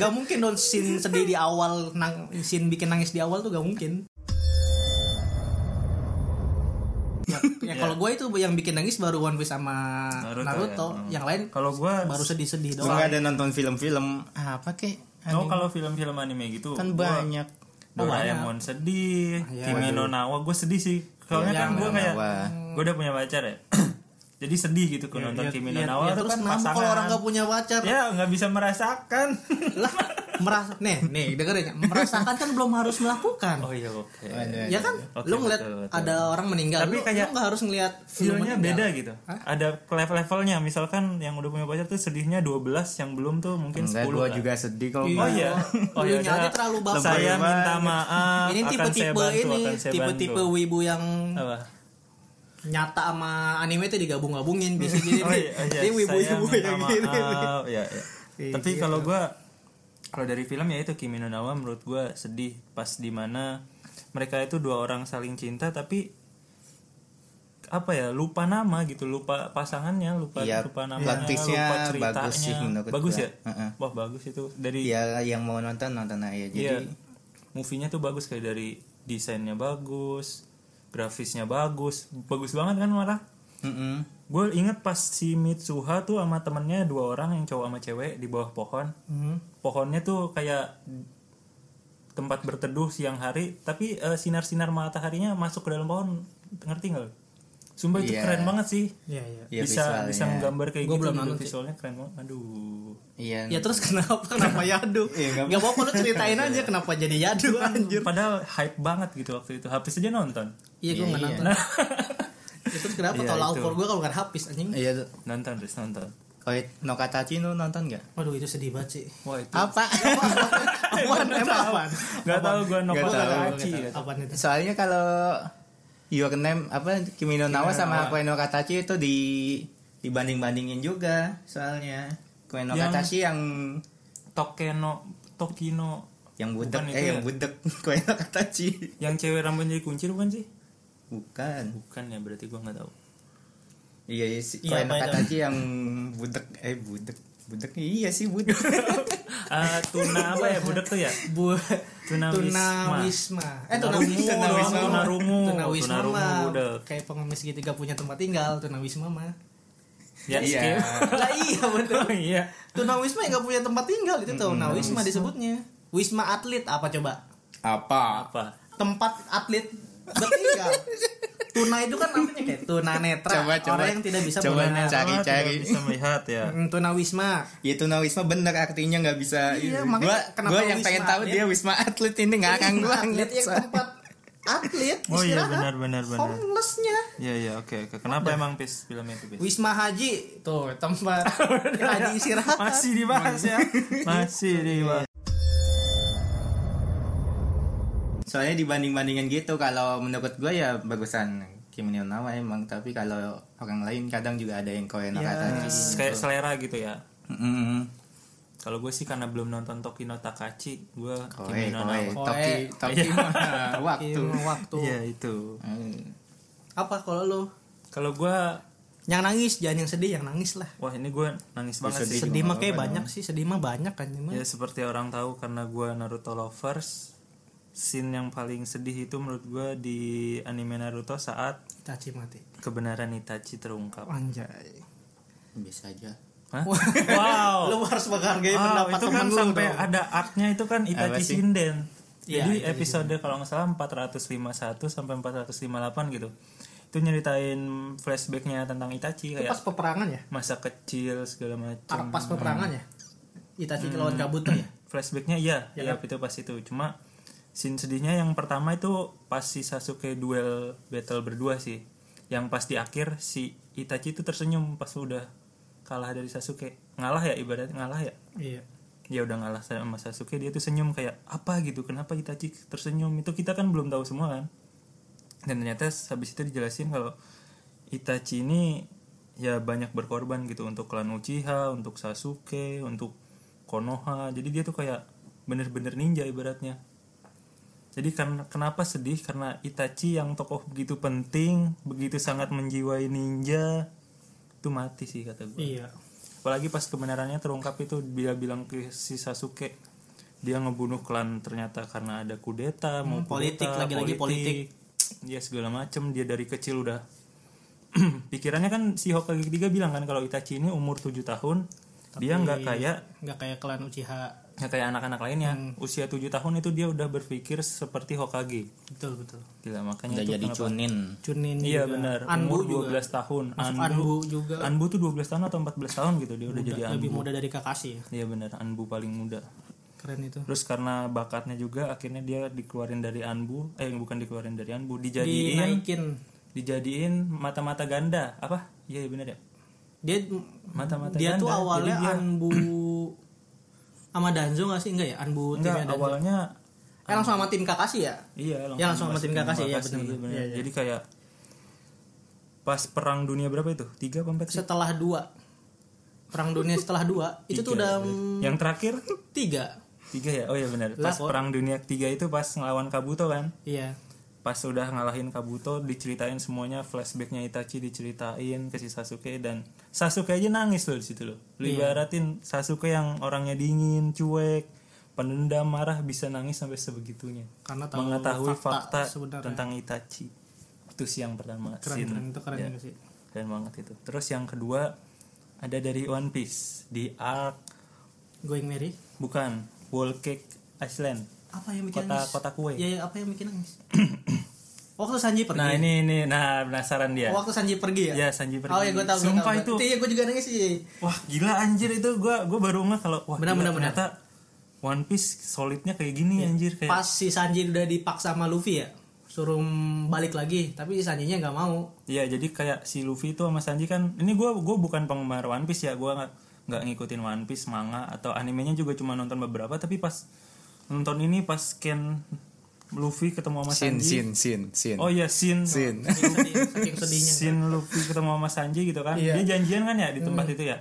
[SPEAKER 1] Gak mungkin dong scene sedih di awal nang scene bikin nangis di awal tuh gak mungkin. Ya, ya kalau gue itu yang bikin nangis baru One Piece sama
[SPEAKER 2] Iya. Naruto
[SPEAKER 1] Naruto,
[SPEAKER 2] ya. Hmm.
[SPEAKER 1] yang lain
[SPEAKER 2] kalau gue
[SPEAKER 1] baru sedih-sedih
[SPEAKER 3] Lu
[SPEAKER 1] doang.
[SPEAKER 3] nggak ada nonton film-film
[SPEAKER 1] Ah,
[SPEAKER 3] apa kek?
[SPEAKER 2] no kalau film-film anime gitu
[SPEAKER 3] Kan
[SPEAKER 2] gua
[SPEAKER 3] banyak.
[SPEAKER 2] Doraemon sedih
[SPEAKER 1] Iya.
[SPEAKER 2] Kimi no Nawa gue sedih sih soalnya
[SPEAKER 1] Iya,
[SPEAKER 2] kan gue
[SPEAKER 3] Kimi no
[SPEAKER 2] kayak
[SPEAKER 3] Nawa.
[SPEAKER 2] gue udah punya pacar ya jadi sedih gitu kalau
[SPEAKER 1] Ya,
[SPEAKER 2] nonton Kimi no
[SPEAKER 1] ya,
[SPEAKER 2] Nawa
[SPEAKER 1] ya,
[SPEAKER 2] itu
[SPEAKER 1] terus
[SPEAKER 2] kan
[SPEAKER 1] kenapa
[SPEAKER 2] pasangan
[SPEAKER 1] kalau orang gak punya pacar
[SPEAKER 2] ya nggak bisa merasakan
[SPEAKER 1] lah merasa nih nih dengerin ya. merasakan kan belum harus melakukan
[SPEAKER 2] oh iya oke
[SPEAKER 1] ya kan
[SPEAKER 2] Oke,
[SPEAKER 1] lu ngeliat
[SPEAKER 2] betul, betul.
[SPEAKER 1] ada orang meninggal
[SPEAKER 2] Tapi
[SPEAKER 1] lu,
[SPEAKER 2] kayak
[SPEAKER 1] lu gak harus ngeliat Iya. lu
[SPEAKER 2] Feelnya
[SPEAKER 1] meninggal.
[SPEAKER 2] beda gitu. Ada level-levelnya. Misalkan yang udah punya pacar tuh sedihnya 12, yang belum tuh mungkin
[SPEAKER 3] Enggak,
[SPEAKER 2] 10.
[SPEAKER 3] gua
[SPEAKER 2] lah.
[SPEAKER 3] juga sedih kok.
[SPEAKER 2] Oh iya. Oh iya.
[SPEAKER 1] Dulunya aja terlalu baper.
[SPEAKER 2] Saya
[SPEAKER 3] Lebay
[SPEAKER 2] minta
[SPEAKER 3] banget.
[SPEAKER 2] maaf.
[SPEAKER 1] ini
[SPEAKER 2] akan saya
[SPEAKER 1] tipe-tipe
[SPEAKER 2] bantu,
[SPEAKER 1] ini
[SPEAKER 2] akan saya
[SPEAKER 1] tipe-tipe
[SPEAKER 2] bantu.
[SPEAKER 1] wibu yang
[SPEAKER 2] Apa?
[SPEAKER 1] nyata sama anime itu digabung-gabungin biasanya jadi
[SPEAKER 2] Oh iya, oh iya,
[SPEAKER 1] dia wibu-wibu
[SPEAKER 2] saya minta
[SPEAKER 1] yang gini
[SPEAKER 2] maaf. Ya, ya.
[SPEAKER 3] Iya,
[SPEAKER 2] Tapi kalau gua kalau dari film ya itu Kimi no Nawa menurut gua sedih pas di mana mereka itu dua orang saling cinta tapi apa ya lupa nama gitu lupa pasangannya lupa
[SPEAKER 3] Iya,
[SPEAKER 2] lupa namanya
[SPEAKER 3] plot-twistnya
[SPEAKER 2] lupa ceritanya
[SPEAKER 3] bagus sih menurut
[SPEAKER 2] bagus
[SPEAKER 3] gua.
[SPEAKER 2] ya
[SPEAKER 3] Heeh.
[SPEAKER 2] wah bagus itu dari
[SPEAKER 3] Ya yang mau nonton nonton aja.
[SPEAKER 2] Iya.
[SPEAKER 3] Jadi
[SPEAKER 2] Movie-nya tuh bagus kayak dari desainnya bagus, grafisnya bagus, bagus banget kan marah.
[SPEAKER 3] Mm-mm.
[SPEAKER 2] Gue inget pas si Mitsuha tuh sama temennya dua orang yang cowok sama cewek di bawah pohon.
[SPEAKER 3] Hmm.
[SPEAKER 2] Pohonnya tuh kayak tempat berteduh siang hari, tapi eh, sinar-sinar mataharinya masuk ke dalam pohon. Ngerti nggak? lu? Sumpah itu
[SPEAKER 3] Iya.
[SPEAKER 2] keren banget sih.
[SPEAKER 1] Iya, iya.
[SPEAKER 3] Iya,
[SPEAKER 2] bisa
[SPEAKER 3] visualnya.
[SPEAKER 2] bisa menggambar kayak
[SPEAKER 1] Gua
[SPEAKER 2] gitu
[SPEAKER 1] belum
[SPEAKER 2] gitu.
[SPEAKER 1] nonton sih.
[SPEAKER 2] visualnya keren banget. Aduh.
[SPEAKER 3] Iya.
[SPEAKER 1] Ya terus kenapa kenapa Yadu?
[SPEAKER 3] Iya, nggak
[SPEAKER 1] Gak apa-apa lu ceritain
[SPEAKER 2] iya.
[SPEAKER 1] aja kenapa jadi Yadu anjir.
[SPEAKER 2] Padahal hype banget gitu waktu itu. Habis aja nonton.
[SPEAKER 1] Iya gue
[SPEAKER 3] Iya,
[SPEAKER 1] nggak
[SPEAKER 3] iya.
[SPEAKER 1] nonton. Ya, terus kenapa
[SPEAKER 2] Iya,
[SPEAKER 1] tau
[SPEAKER 2] itu.
[SPEAKER 1] laupor gue kalau nggak habis anjing?
[SPEAKER 3] Iya tuh.
[SPEAKER 2] Nonton terus nonton.
[SPEAKER 3] Koit no Katachi lu nonton nggak?
[SPEAKER 1] Waduh itu sedih banget sih.
[SPEAKER 2] Wah itu.
[SPEAKER 3] Apa?
[SPEAKER 1] Apaan? Emang apaan?
[SPEAKER 2] Gak tau gue
[SPEAKER 3] Nggak
[SPEAKER 2] nonton
[SPEAKER 3] tahu,
[SPEAKER 2] Aci.
[SPEAKER 3] nggak
[SPEAKER 1] Apaan itu?
[SPEAKER 3] Soalnya kalau Your Name apa Kimi no Nawa
[SPEAKER 2] Iya,
[SPEAKER 3] sama Koe no Katachi itu di dibanding-bandingin juga soalnya. Koe no
[SPEAKER 2] Yang-
[SPEAKER 3] Katachi yang
[SPEAKER 2] Tokeno Tokino
[SPEAKER 3] yang budek
[SPEAKER 2] Bukan itu
[SPEAKER 3] eh yang
[SPEAKER 2] ya?
[SPEAKER 3] budek Koe no Katachi.
[SPEAKER 2] yang cewek rambutnya dikunci bukan sih?
[SPEAKER 3] Bukan.
[SPEAKER 2] Bukan ya berarti gua nggak tahu.
[SPEAKER 3] Iya, iya sih.
[SPEAKER 1] Iya,
[SPEAKER 3] Koe no
[SPEAKER 1] apa itu?
[SPEAKER 3] Katachi yang budek eh budek budek iya sih budek
[SPEAKER 2] Ah, tuna apa ya budak tuh ya?
[SPEAKER 1] Bu
[SPEAKER 2] Tuna
[SPEAKER 1] Tuna
[SPEAKER 2] Wisma.
[SPEAKER 1] Wisma. Eh
[SPEAKER 2] Tuna
[SPEAKER 1] Tuna
[SPEAKER 2] Rungu,
[SPEAKER 1] Wisma.
[SPEAKER 2] Tuna Wisma.
[SPEAKER 1] Tuna Rungu.
[SPEAKER 2] Tuna
[SPEAKER 1] Tuna
[SPEAKER 2] Wisma
[SPEAKER 1] Wisma mah
[SPEAKER 2] udah.
[SPEAKER 1] kayak pengemis gitu gak punya tempat tinggal Tuna Wisma mah.
[SPEAKER 2] Ya,
[SPEAKER 3] Iya.
[SPEAKER 2] skip.
[SPEAKER 1] Lah iya bener.
[SPEAKER 2] Oh, iya.
[SPEAKER 1] Tuna Wisma yang gak punya tempat tinggal itu Tuna Wisma disebutnya. Wisma atlet apa coba?
[SPEAKER 3] apa
[SPEAKER 2] Apa?
[SPEAKER 1] Tempat atlet bertinggal. Tuna itu kan namanya kayak tuna netra.
[SPEAKER 3] Coba, coba.
[SPEAKER 1] Orang yang tidak bisa
[SPEAKER 3] Coba,
[SPEAKER 1] mengenal.
[SPEAKER 3] Cak. Cari,
[SPEAKER 2] Ah, tidak
[SPEAKER 3] cari.
[SPEAKER 2] Bisa melihat ya.
[SPEAKER 1] Mm, Tuna Wisma.
[SPEAKER 3] ya tunawisma bener artinya nggak bisa
[SPEAKER 1] Iya,
[SPEAKER 3] gua
[SPEAKER 1] makanya kenapa
[SPEAKER 3] gua yang
[SPEAKER 1] wisma
[SPEAKER 3] pengen tahu
[SPEAKER 1] atlet? Iya,
[SPEAKER 3] dia wisma atlet ini ngarang
[SPEAKER 1] Wisma
[SPEAKER 3] banget
[SPEAKER 1] atlet yang
[SPEAKER 3] soalnya.
[SPEAKER 1] tempat atlet
[SPEAKER 2] Oh iya
[SPEAKER 1] istirahat.
[SPEAKER 2] benar benar benar.
[SPEAKER 1] Homelessnya.
[SPEAKER 2] Iya iya oke oke. Kenapa emang pis filmnya itu pis?
[SPEAKER 1] Wisma Haji tuh tempat haji istirahat.
[SPEAKER 2] Masih dibahas ya. Masih dibahas.
[SPEAKER 3] soalnya dibanding bandingin gitu kalau menurut gue ya bagusan Kim Nil Nawa emang tapi kalau orang lain kadang juga ada yang
[SPEAKER 1] Iya.
[SPEAKER 3] koen Nakatachi
[SPEAKER 2] Kayak selera gitu ya.
[SPEAKER 3] Mm-mm.
[SPEAKER 2] Kalau gue sih karena belum nonton Tokino Takachi, gue
[SPEAKER 3] koe
[SPEAKER 2] Kimi no
[SPEAKER 3] koe
[SPEAKER 2] Nawa.
[SPEAKER 3] toki toki mah waktu
[SPEAKER 1] Iya, waktu.
[SPEAKER 2] Iya itu.
[SPEAKER 3] Hmm.
[SPEAKER 1] Apa kalau lu
[SPEAKER 2] Kalau gue
[SPEAKER 1] yang nangis jangan yang sedih yang nangis lah.
[SPEAKER 2] Wah ini gue nangis banget
[SPEAKER 3] sedih
[SPEAKER 2] sih.
[SPEAKER 1] Sedih mah kayak
[SPEAKER 3] apa-apa
[SPEAKER 1] banyak sih, sedih mah banyak kan
[SPEAKER 2] Ya
[SPEAKER 1] cuman.
[SPEAKER 2] seperti orang tahu karena gue Naruto lovers. Scene yang paling sedih itu menurut gue di anime Naruto saat
[SPEAKER 1] Caci mati.
[SPEAKER 2] kebenaran Itachi terungkap.
[SPEAKER 1] Anjay.
[SPEAKER 3] biasa aja
[SPEAKER 2] Hah? Wow.
[SPEAKER 1] Lu harus menghargai
[SPEAKER 2] Wow,
[SPEAKER 1] pendapat
[SPEAKER 2] Oh. itu
[SPEAKER 1] temen
[SPEAKER 2] kan
[SPEAKER 1] lu
[SPEAKER 2] sampai
[SPEAKER 1] dong.
[SPEAKER 2] ada artnya itu kan
[SPEAKER 3] Apa
[SPEAKER 2] Itachi
[SPEAKER 3] sih?
[SPEAKER 2] Shinden.
[SPEAKER 1] Iya,
[SPEAKER 2] Jadi
[SPEAKER 1] Itachi
[SPEAKER 2] episode kalau nggak salah 451 sampai 458 gitu. Itu nyeritain flashbacknya tentang
[SPEAKER 1] Itu
[SPEAKER 2] Itachi kayak
[SPEAKER 1] pas peperangan ya?
[SPEAKER 2] masa kecil segala macam.
[SPEAKER 1] Pas peperangan ya?
[SPEAKER 2] Hmm.
[SPEAKER 1] Itachi lawan Kabuto ya?
[SPEAKER 2] flashbacknya iya iya itu pas itu cuma scene sedihnya yang pertama itu pas si Sasuke duel battle berdua sih yang pas di akhir si Itachi itu tersenyum pas udah kalah dari Sasuke ngalah ya ibaratnya ngalah ya
[SPEAKER 1] Iya.
[SPEAKER 2] dia udah ngalah sama Sasuke dia tuh senyum kayak apa gitu kenapa Itachi tersenyum itu kita kan belum tahu semua kan dan ternyata habis itu dijelasin kalau Itachi ini ya banyak berkorban gitu untuk klan Uchiha untuk Sasuke untuk Konoha jadi dia tuh kayak bener-bener ninja ibaratnya jadi kan kenapa sedih karena Itachi yang tokoh begitu penting begitu sangat menjiwai ninja itu mati sih kata gue
[SPEAKER 1] Iya.
[SPEAKER 2] apalagi pas kebenarannya terungkap itu dia bilang ke si Sasuke dia ngebunuh klan ternyata karena ada kudeta mau
[SPEAKER 1] Hmm, politik,
[SPEAKER 2] kudeta,
[SPEAKER 1] lagi-lagi
[SPEAKER 2] ya segala macem dia dari kecil udah pikirannya kan si Hokage ketiga bilang kan kalau Itachi ini umur 7 tahun dia nggak kayak
[SPEAKER 1] Nggak kayak klan Uchiha.
[SPEAKER 2] nggak kayak anak-anak lainnya
[SPEAKER 1] Hmm.
[SPEAKER 2] usia 7 tahun itu dia udah berpikir seperti Hokage
[SPEAKER 1] Betul betul.
[SPEAKER 2] gila makanya
[SPEAKER 3] udah
[SPEAKER 2] itu
[SPEAKER 3] jadi
[SPEAKER 2] kenapa-
[SPEAKER 3] cunin
[SPEAKER 1] Cunin
[SPEAKER 2] Iya
[SPEAKER 1] juga.
[SPEAKER 2] benar.
[SPEAKER 1] Anbu
[SPEAKER 2] Umur 12
[SPEAKER 1] juga.
[SPEAKER 2] tahun.
[SPEAKER 1] Masuk
[SPEAKER 2] Anbu,
[SPEAKER 1] Anbu juga.
[SPEAKER 2] Anbu tuh 12 tahun atau 14 tahun gitu dia udah jadi Anbu.
[SPEAKER 1] Lebih muda dari Kakashi ya.
[SPEAKER 2] Iya benar, Anbu paling muda.
[SPEAKER 1] Keren itu.
[SPEAKER 2] Terus karena bakatnya juga akhirnya dia dikeluarin dari Anbu, eh bukan dikeluarin dari Anbu, dijadiin
[SPEAKER 1] Dinaikin.
[SPEAKER 2] dijadiin mata-mata ganda. Apa? Iya iya, benar ya.
[SPEAKER 1] Dia
[SPEAKER 2] Mata-mata
[SPEAKER 1] dia tuh
[SPEAKER 2] ganda. Jadi
[SPEAKER 1] awalnya
[SPEAKER 2] dia-
[SPEAKER 1] Anbu sama Danzo gak sih? Enggak ya? Anbu
[SPEAKER 2] enggak
[SPEAKER 1] timnya Danzo.
[SPEAKER 2] awalnya
[SPEAKER 1] Eh langsung sama tim Kakashi ya?
[SPEAKER 2] iya langsung,
[SPEAKER 1] Ya, langsung sama
[SPEAKER 2] masukin
[SPEAKER 1] tim Kakashi, iya,
[SPEAKER 2] Kakashi,
[SPEAKER 1] benar-benar.
[SPEAKER 2] benar.
[SPEAKER 1] Iya, iya.
[SPEAKER 2] Jadi kayak pas perang dunia berapa itu? 3 apa 4 sih?
[SPEAKER 1] Setelah dua Perang dunia setelah dua Itu tuh
[SPEAKER 2] Tiga,
[SPEAKER 1] udah
[SPEAKER 2] berarti.
[SPEAKER 1] mm,
[SPEAKER 2] Yang terakhir
[SPEAKER 1] tiga
[SPEAKER 2] tiga ya? Oh iya benar.
[SPEAKER 1] Lah,
[SPEAKER 2] Pas
[SPEAKER 1] kok.
[SPEAKER 2] perang dunia ketiga itu pas ngelawan Kabuto kan?
[SPEAKER 1] Iya
[SPEAKER 2] pas udah ngalahin Kabuto diceritain semuanya flashbacknya Itachi diceritain ke si Sasuke dan Sasuke aja nangis loh di situ loh. Lu
[SPEAKER 1] Iya.
[SPEAKER 2] ibaratin Sasuke yang orangnya dingin, cuek, pendendam marah bisa nangis sampai sebegitunya.
[SPEAKER 1] Karena tahu
[SPEAKER 2] Mengetahui
[SPEAKER 1] fakta
[SPEAKER 2] fakta,
[SPEAKER 1] sebenarnya.
[SPEAKER 2] tentang Itachi. Itu sih yang pertama.
[SPEAKER 1] Keren
[SPEAKER 2] scene. Iya.
[SPEAKER 1] keren itu keren juga sih
[SPEAKER 2] keren banget itu terus yang kedua ada dari One Piece di Ark
[SPEAKER 1] Going Merry.
[SPEAKER 2] bukan Wall Cake Island
[SPEAKER 1] Apa yang bikin
[SPEAKER 2] kota
[SPEAKER 1] nangis?
[SPEAKER 2] kota kue
[SPEAKER 1] Ya, ya, apa yang bikin nangis? waktu Sanji pergi.
[SPEAKER 2] nah ini ini nah penasaran dia
[SPEAKER 1] Waktu Sanji pergi ya?
[SPEAKER 2] Iya, Sanji pergi.
[SPEAKER 1] Oh ya gue tahu. gua
[SPEAKER 2] Sumpah
[SPEAKER 1] tahu.
[SPEAKER 2] itu.
[SPEAKER 1] Iya gue juga nangis sih.
[SPEAKER 2] Wah gila anjir itu gue gue baru ngeh kalau wah
[SPEAKER 1] Benar,
[SPEAKER 2] gila,
[SPEAKER 1] benar, benar.
[SPEAKER 2] ternyata One Piece solidnya kayak gini anjir kayak
[SPEAKER 1] Pas si Sanji udah dipaksa sama Luffy ya, suruh balik lagi, tapi si Sanjinya nggak mau.
[SPEAKER 2] Iya jadi kayak si Luffy itu sama Sanji kan ini gue gue bukan penggemar One Piece ya gue nggak nggak ngikutin One Piece manga atau animenya juga cuma nonton beberapa tapi pas nonton ini pas Ken Luffy ketemu sama
[SPEAKER 4] Sin,
[SPEAKER 2] Sanji
[SPEAKER 4] sin, sin, sin.
[SPEAKER 2] oh iya Sin
[SPEAKER 4] Sin.
[SPEAKER 1] Saking saking sedihnya.
[SPEAKER 2] Sin Luffy ketemu sama Sanji gitu kan
[SPEAKER 1] Iya. Hmm.
[SPEAKER 2] dia janjian kan ya di tempat itu ya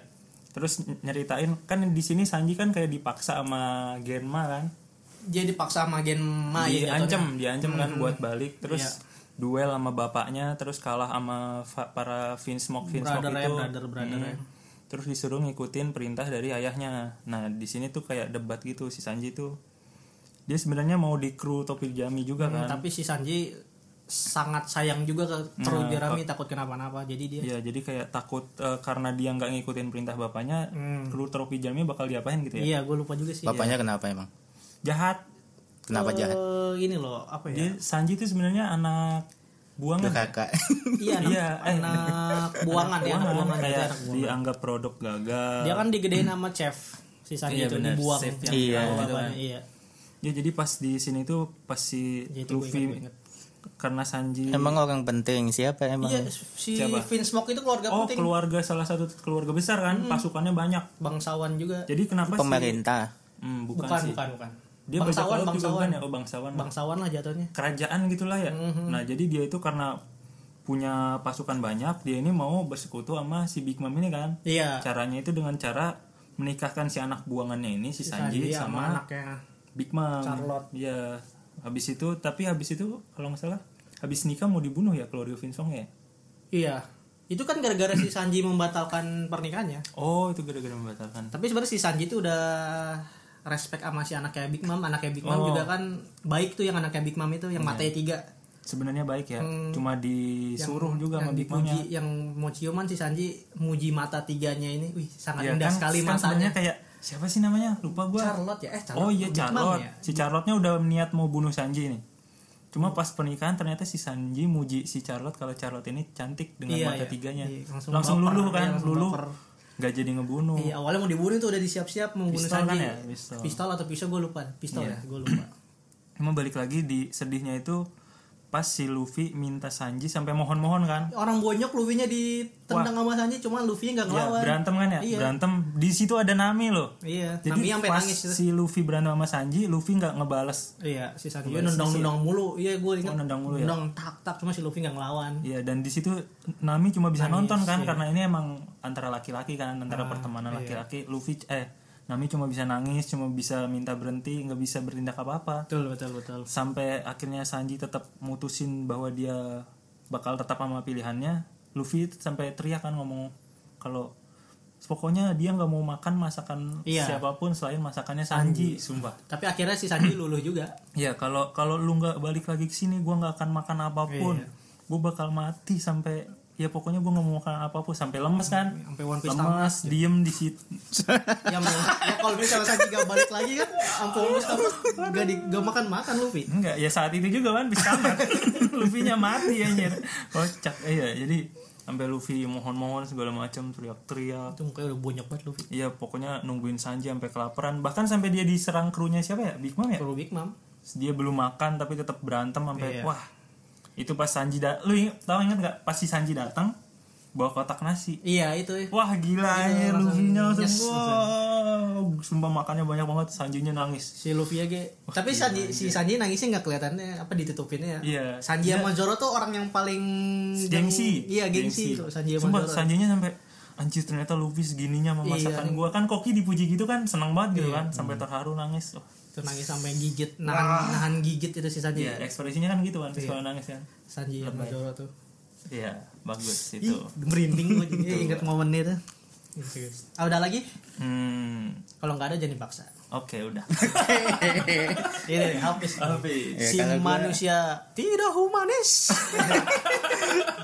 [SPEAKER 2] terus ny- nyeritain kan di sini Sanji kan kayak dipaksa sama Genma kan
[SPEAKER 1] Dia dipaksa sama Genma ya.
[SPEAKER 2] Iya, diancam
[SPEAKER 1] jatuhnya.
[SPEAKER 2] diancam kan buat balik terus
[SPEAKER 1] Hmm. Iya.
[SPEAKER 2] duel sama bapaknya terus kalah sama fa- para Vinsmoke Vinsmoke
[SPEAKER 1] Brother ya,
[SPEAKER 2] itu Hmm.
[SPEAKER 1] brother, brother ya.
[SPEAKER 2] terus disuruh ngikutin perintah dari ayahnya nah di sini tuh kayak debat gitu si Sanji tuh dia sebenarnya mau di kru topi jami juga kan
[SPEAKER 1] Hmm, Tapi si Sanji sangat sayang juga
[SPEAKER 2] Hmm,
[SPEAKER 1] ke Teru Jerami takut kenapa-napa. Jadi dia
[SPEAKER 2] ya jadi kayak takut eh, karena dia nggak ngikutin perintah bapaknya kru topi jami bakal diapain gitu ya
[SPEAKER 1] Hmm. Iya, gue lupa juga sih.
[SPEAKER 4] Bapaknya kenapa emang?
[SPEAKER 2] jahat
[SPEAKER 4] Kenapa
[SPEAKER 1] Eh,
[SPEAKER 4] jahat?
[SPEAKER 1] ini loh, apa ya?
[SPEAKER 2] dia Sanji tuh sebenarnya anak buangan
[SPEAKER 4] Kakak.
[SPEAKER 1] Iya, anak,
[SPEAKER 2] Iya, eh.
[SPEAKER 1] anak buangan ya, anak buangan itu
[SPEAKER 2] kayak
[SPEAKER 1] anak buangan.
[SPEAKER 2] dianggap produk gagal
[SPEAKER 1] Dia kan digedein sama chef si Sanji
[SPEAKER 2] Iya,
[SPEAKER 1] itu
[SPEAKER 2] benar,
[SPEAKER 1] dibuang.
[SPEAKER 2] chef yang
[SPEAKER 1] Iya,
[SPEAKER 2] dirawat
[SPEAKER 1] bapaknya,
[SPEAKER 2] kan.
[SPEAKER 1] iya.
[SPEAKER 2] Ya jadi pas di sini tuh pas si
[SPEAKER 1] Ya, itu gua
[SPEAKER 2] Luffy
[SPEAKER 1] ingat, gua ingat.
[SPEAKER 2] karena Sanji
[SPEAKER 4] emang orang penting siapa emang?
[SPEAKER 1] Iya, si
[SPEAKER 2] Siapa?
[SPEAKER 1] Vince Mock itu keluarga
[SPEAKER 2] oh
[SPEAKER 1] penting, Hmm.
[SPEAKER 2] keluarga salah satu keluarga besar kan pasukannya banyak.
[SPEAKER 1] bangsawan juga.
[SPEAKER 2] Jadi kenapa sih
[SPEAKER 4] Pemerintah.
[SPEAKER 2] Hmm, bukan,
[SPEAKER 1] bukan,
[SPEAKER 2] sih.
[SPEAKER 1] bukan, bukan.
[SPEAKER 2] Dia
[SPEAKER 1] bangsawan,
[SPEAKER 2] bangsawan,
[SPEAKER 1] bangsawan.
[SPEAKER 2] ya oh bangsawan.
[SPEAKER 1] Bangsawan lah jatuhnya.
[SPEAKER 2] Kerajaan gitulah ya.
[SPEAKER 1] Mhm.
[SPEAKER 2] Nah, jadi dia itu karena punya pasukan banyak, dia ini mau bersekutu sama si Big Mom ini kan.
[SPEAKER 1] Iya.
[SPEAKER 2] Caranya itu dengan cara menikahkan si anak buangannya ini si, Sanji,
[SPEAKER 1] Iya,
[SPEAKER 2] sama
[SPEAKER 1] anaknya.
[SPEAKER 2] Big Mom. ya.
[SPEAKER 1] Charlotte.
[SPEAKER 2] Iya. Habis itu tapi habis itu kalau nggak salah habis nikah mau dibunuh ya keluarga Vinsong ya.
[SPEAKER 1] Iya. Itu kan gara-gara si Sanji membatalkan pernikahannya.
[SPEAKER 2] Oh, itu gara-gara membatalkan.
[SPEAKER 1] Tapi sebenarnya si Sanji itu udah respect sama si anaknya Big Mom, anaknya Big Mom
[SPEAKER 2] Oh.
[SPEAKER 1] juga
[SPEAKER 2] Iya.
[SPEAKER 1] kan baik tuh yang anaknya Big Mom itu yang matanya tiga
[SPEAKER 2] Sebenarnya baik ya, cuma disuruh juga
[SPEAKER 1] Hmm.
[SPEAKER 2] sama
[SPEAKER 1] yang
[SPEAKER 2] Big Mom-nya.
[SPEAKER 1] dipuji, yang mau ciuman si Sanji muji mata tiganya ini, wih sangat
[SPEAKER 2] Ya,
[SPEAKER 1] indah
[SPEAKER 2] kan,
[SPEAKER 1] sekali matanya.
[SPEAKER 2] kan sebenarnya kayak siapa sih namanya? Lupa gua.
[SPEAKER 1] Charlotte ya, eh Charlotte.
[SPEAKER 2] Oh iya
[SPEAKER 1] Big Mom
[SPEAKER 2] Charlotte.
[SPEAKER 1] ya.
[SPEAKER 2] Si Charlotte-nya udah niat mau bunuh Sanji nih. Cuma pas pernikahan ternyata si Sanji muji si Charlotte kalau Charlotte ini cantik dengan
[SPEAKER 1] Iya,
[SPEAKER 2] mata
[SPEAKER 1] iya.
[SPEAKER 2] tiganya.
[SPEAKER 1] Iya, langsung
[SPEAKER 2] langsung
[SPEAKER 1] baper,
[SPEAKER 2] luluh
[SPEAKER 1] iya,
[SPEAKER 2] kan,
[SPEAKER 1] langsung
[SPEAKER 2] luluh.
[SPEAKER 1] baper.
[SPEAKER 2] Gak jadi ngebunuh.
[SPEAKER 1] Iya, awalnya mau dibunuh tuh udah disiap-siap mau bunuh
[SPEAKER 2] Oh. Pistol kan
[SPEAKER 1] Sanji.
[SPEAKER 2] ya, pistol.
[SPEAKER 1] atau pisau gue lupa, pistol
[SPEAKER 2] Iya.
[SPEAKER 1] ya, gue lupa.
[SPEAKER 2] Cuma balik lagi di sedihnya itu pas si Luffy minta Sanji sampai mohon-mohon kan.
[SPEAKER 1] Orang bonyok Luffy-nya ditendang sama Sanji, cuman Luffy-nya nggak
[SPEAKER 2] Ya,
[SPEAKER 1] ngelawan.
[SPEAKER 2] berantem kan ya?
[SPEAKER 1] Iya.
[SPEAKER 2] Berantem. Di situ ada Nami loh.
[SPEAKER 1] Iya,
[SPEAKER 2] Jadi
[SPEAKER 1] Nami sampai
[SPEAKER 2] pas
[SPEAKER 1] nangis itu.
[SPEAKER 2] si Luffy berantem sama Sanji, Luffy nggak ngebales.
[SPEAKER 1] Iya, si Sanji nendang-nendang mulu. Iya, gue ingat.
[SPEAKER 2] Oh, nendang mulu ya?
[SPEAKER 1] Nendang tak-tak cuma si Luffy nggak ngelawan.
[SPEAKER 2] Iya, dan di situ Nami cuma bisa nonton
[SPEAKER 1] iya.
[SPEAKER 2] kan karena ini emang antara laki-laki kan,
[SPEAKER 1] Ah,
[SPEAKER 2] antara pertemanan laki-laki. Luffy eh Nami cuma bisa nangis, cuma bisa minta berhenti, nggak bisa bertindak apa-apa.
[SPEAKER 1] Betul, betul, betul.
[SPEAKER 2] Sampai akhirnya Sanji tetap mutusin bahwa dia bakal tetap sama pilihannya. Luffy sampai teriak kan ngomong kalau pokoknya dia nggak mau makan masakan
[SPEAKER 1] Iya.
[SPEAKER 2] siapapun selain masakannya Sanji, sumpah.
[SPEAKER 1] Tapi akhirnya si Sanji luluh juga.
[SPEAKER 2] Ya kalau kalau lu nggak balik lagi ke sini, gue nggak akan makan apapun.
[SPEAKER 1] Iya.
[SPEAKER 2] Gue bakal mati sampai ya pokoknya gue nggak mau makan apapun sampai lemes kan.
[SPEAKER 1] Sampai One Piece tamat. gitu.
[SPEAKER 2] lemes, diem di situ.
[SPEAKER 1] ya, mau- ya kalau misalnya Sanji gak balik lagi kan, sampai One Piece tamat gak, di, gak makan-makan Luffy.
[SPEAKER 2] Enggak, ya saat itu juga One Piece tamat. Luffy-nya mati anjir. Kocak. Eh, ya, jadi sampai Luffy mohon-mohon segala macam teriak-teriak.
[SPEAKER 1] Itu mukanya udah bonyok banget Luffy.
[SPEAKER 2] Iya, pokoknya nungguin Sanji sampai kelaparan. Bahkan sampai dia diserang krunya siapa ya? Big Mom ya?
[SPEAKER 1] Perlu Big Mom.
[SPEAKER 2] dia belum makan tapi tetap berantem sampai
[SPEAKER 1] Iya.
[SPEAKER 2] wah itu pas Sanji dat lu inget, tau inget nggak pas si Sanji datang bawa kotak nasi
[SPEAKER 1] Iya, itu ya.
[SPEAKER 2] wah gila ya Luffy-nya langsung
[SPEAKER 1] yes,
[SPEAKER 2] wow sumpah makannya banyak banget Sanjinya nangis
[SPEAKER 1] si Luffy aja tapi Sanji, si Sanji nangisnya nggak kelihatannya apa ditutupinnya ya
[SPEAKER 2] Iya.
[SPEAKER 1] Sanji sama Zoro tuh orang yang paling
[SPEAKER 2] gengsi
[SPEAKER 1] iya gengsi, tuh Sanji sama
[SPEAKER 2] sumpah
[SPEAKER 1] Zoro
[SPEAKER 2] Sanjinya sampai anjir ternyata Luffy segininya sama
[SPEAKER 1] Iya.
[SPEAKER 2] masakan gua kan koki dipuji gitu kan senang banget gitu kan sampai terharu nangis oh.
[SPEAKER 1] tuh nangis sampai gigit nahan nahan gigit itu si Sanji
[SPEAKER 2] Iya, ekspresinya kan gitu kan pas kalau nangis kan
[SPEAKER 1] Sanji sama Zoro tuh
[SPEAKER 2] Iya, bagus
[SPEAKER 1] Ih,
[SPEAKER 2] itu
[SPEAKER 1] merinding gue
[SPEAKER 2] Iya,
[SPEAKER 1] jadi inget momennya tuh ah udah lagi
[SPEAKER 2] hmm
[SPEAKER 1] kalau nggak ada jangan dipaksa
[SPEAKER 2] Oke, udah. Iya,
[SPEAKER 1] Ini habis.
[SPEAKER 2] Tapi
[SPEAKER 1] si
[SPEAKER 3] Ya, kalau gua-
[SPEAKER 1] manusia tidak humanis.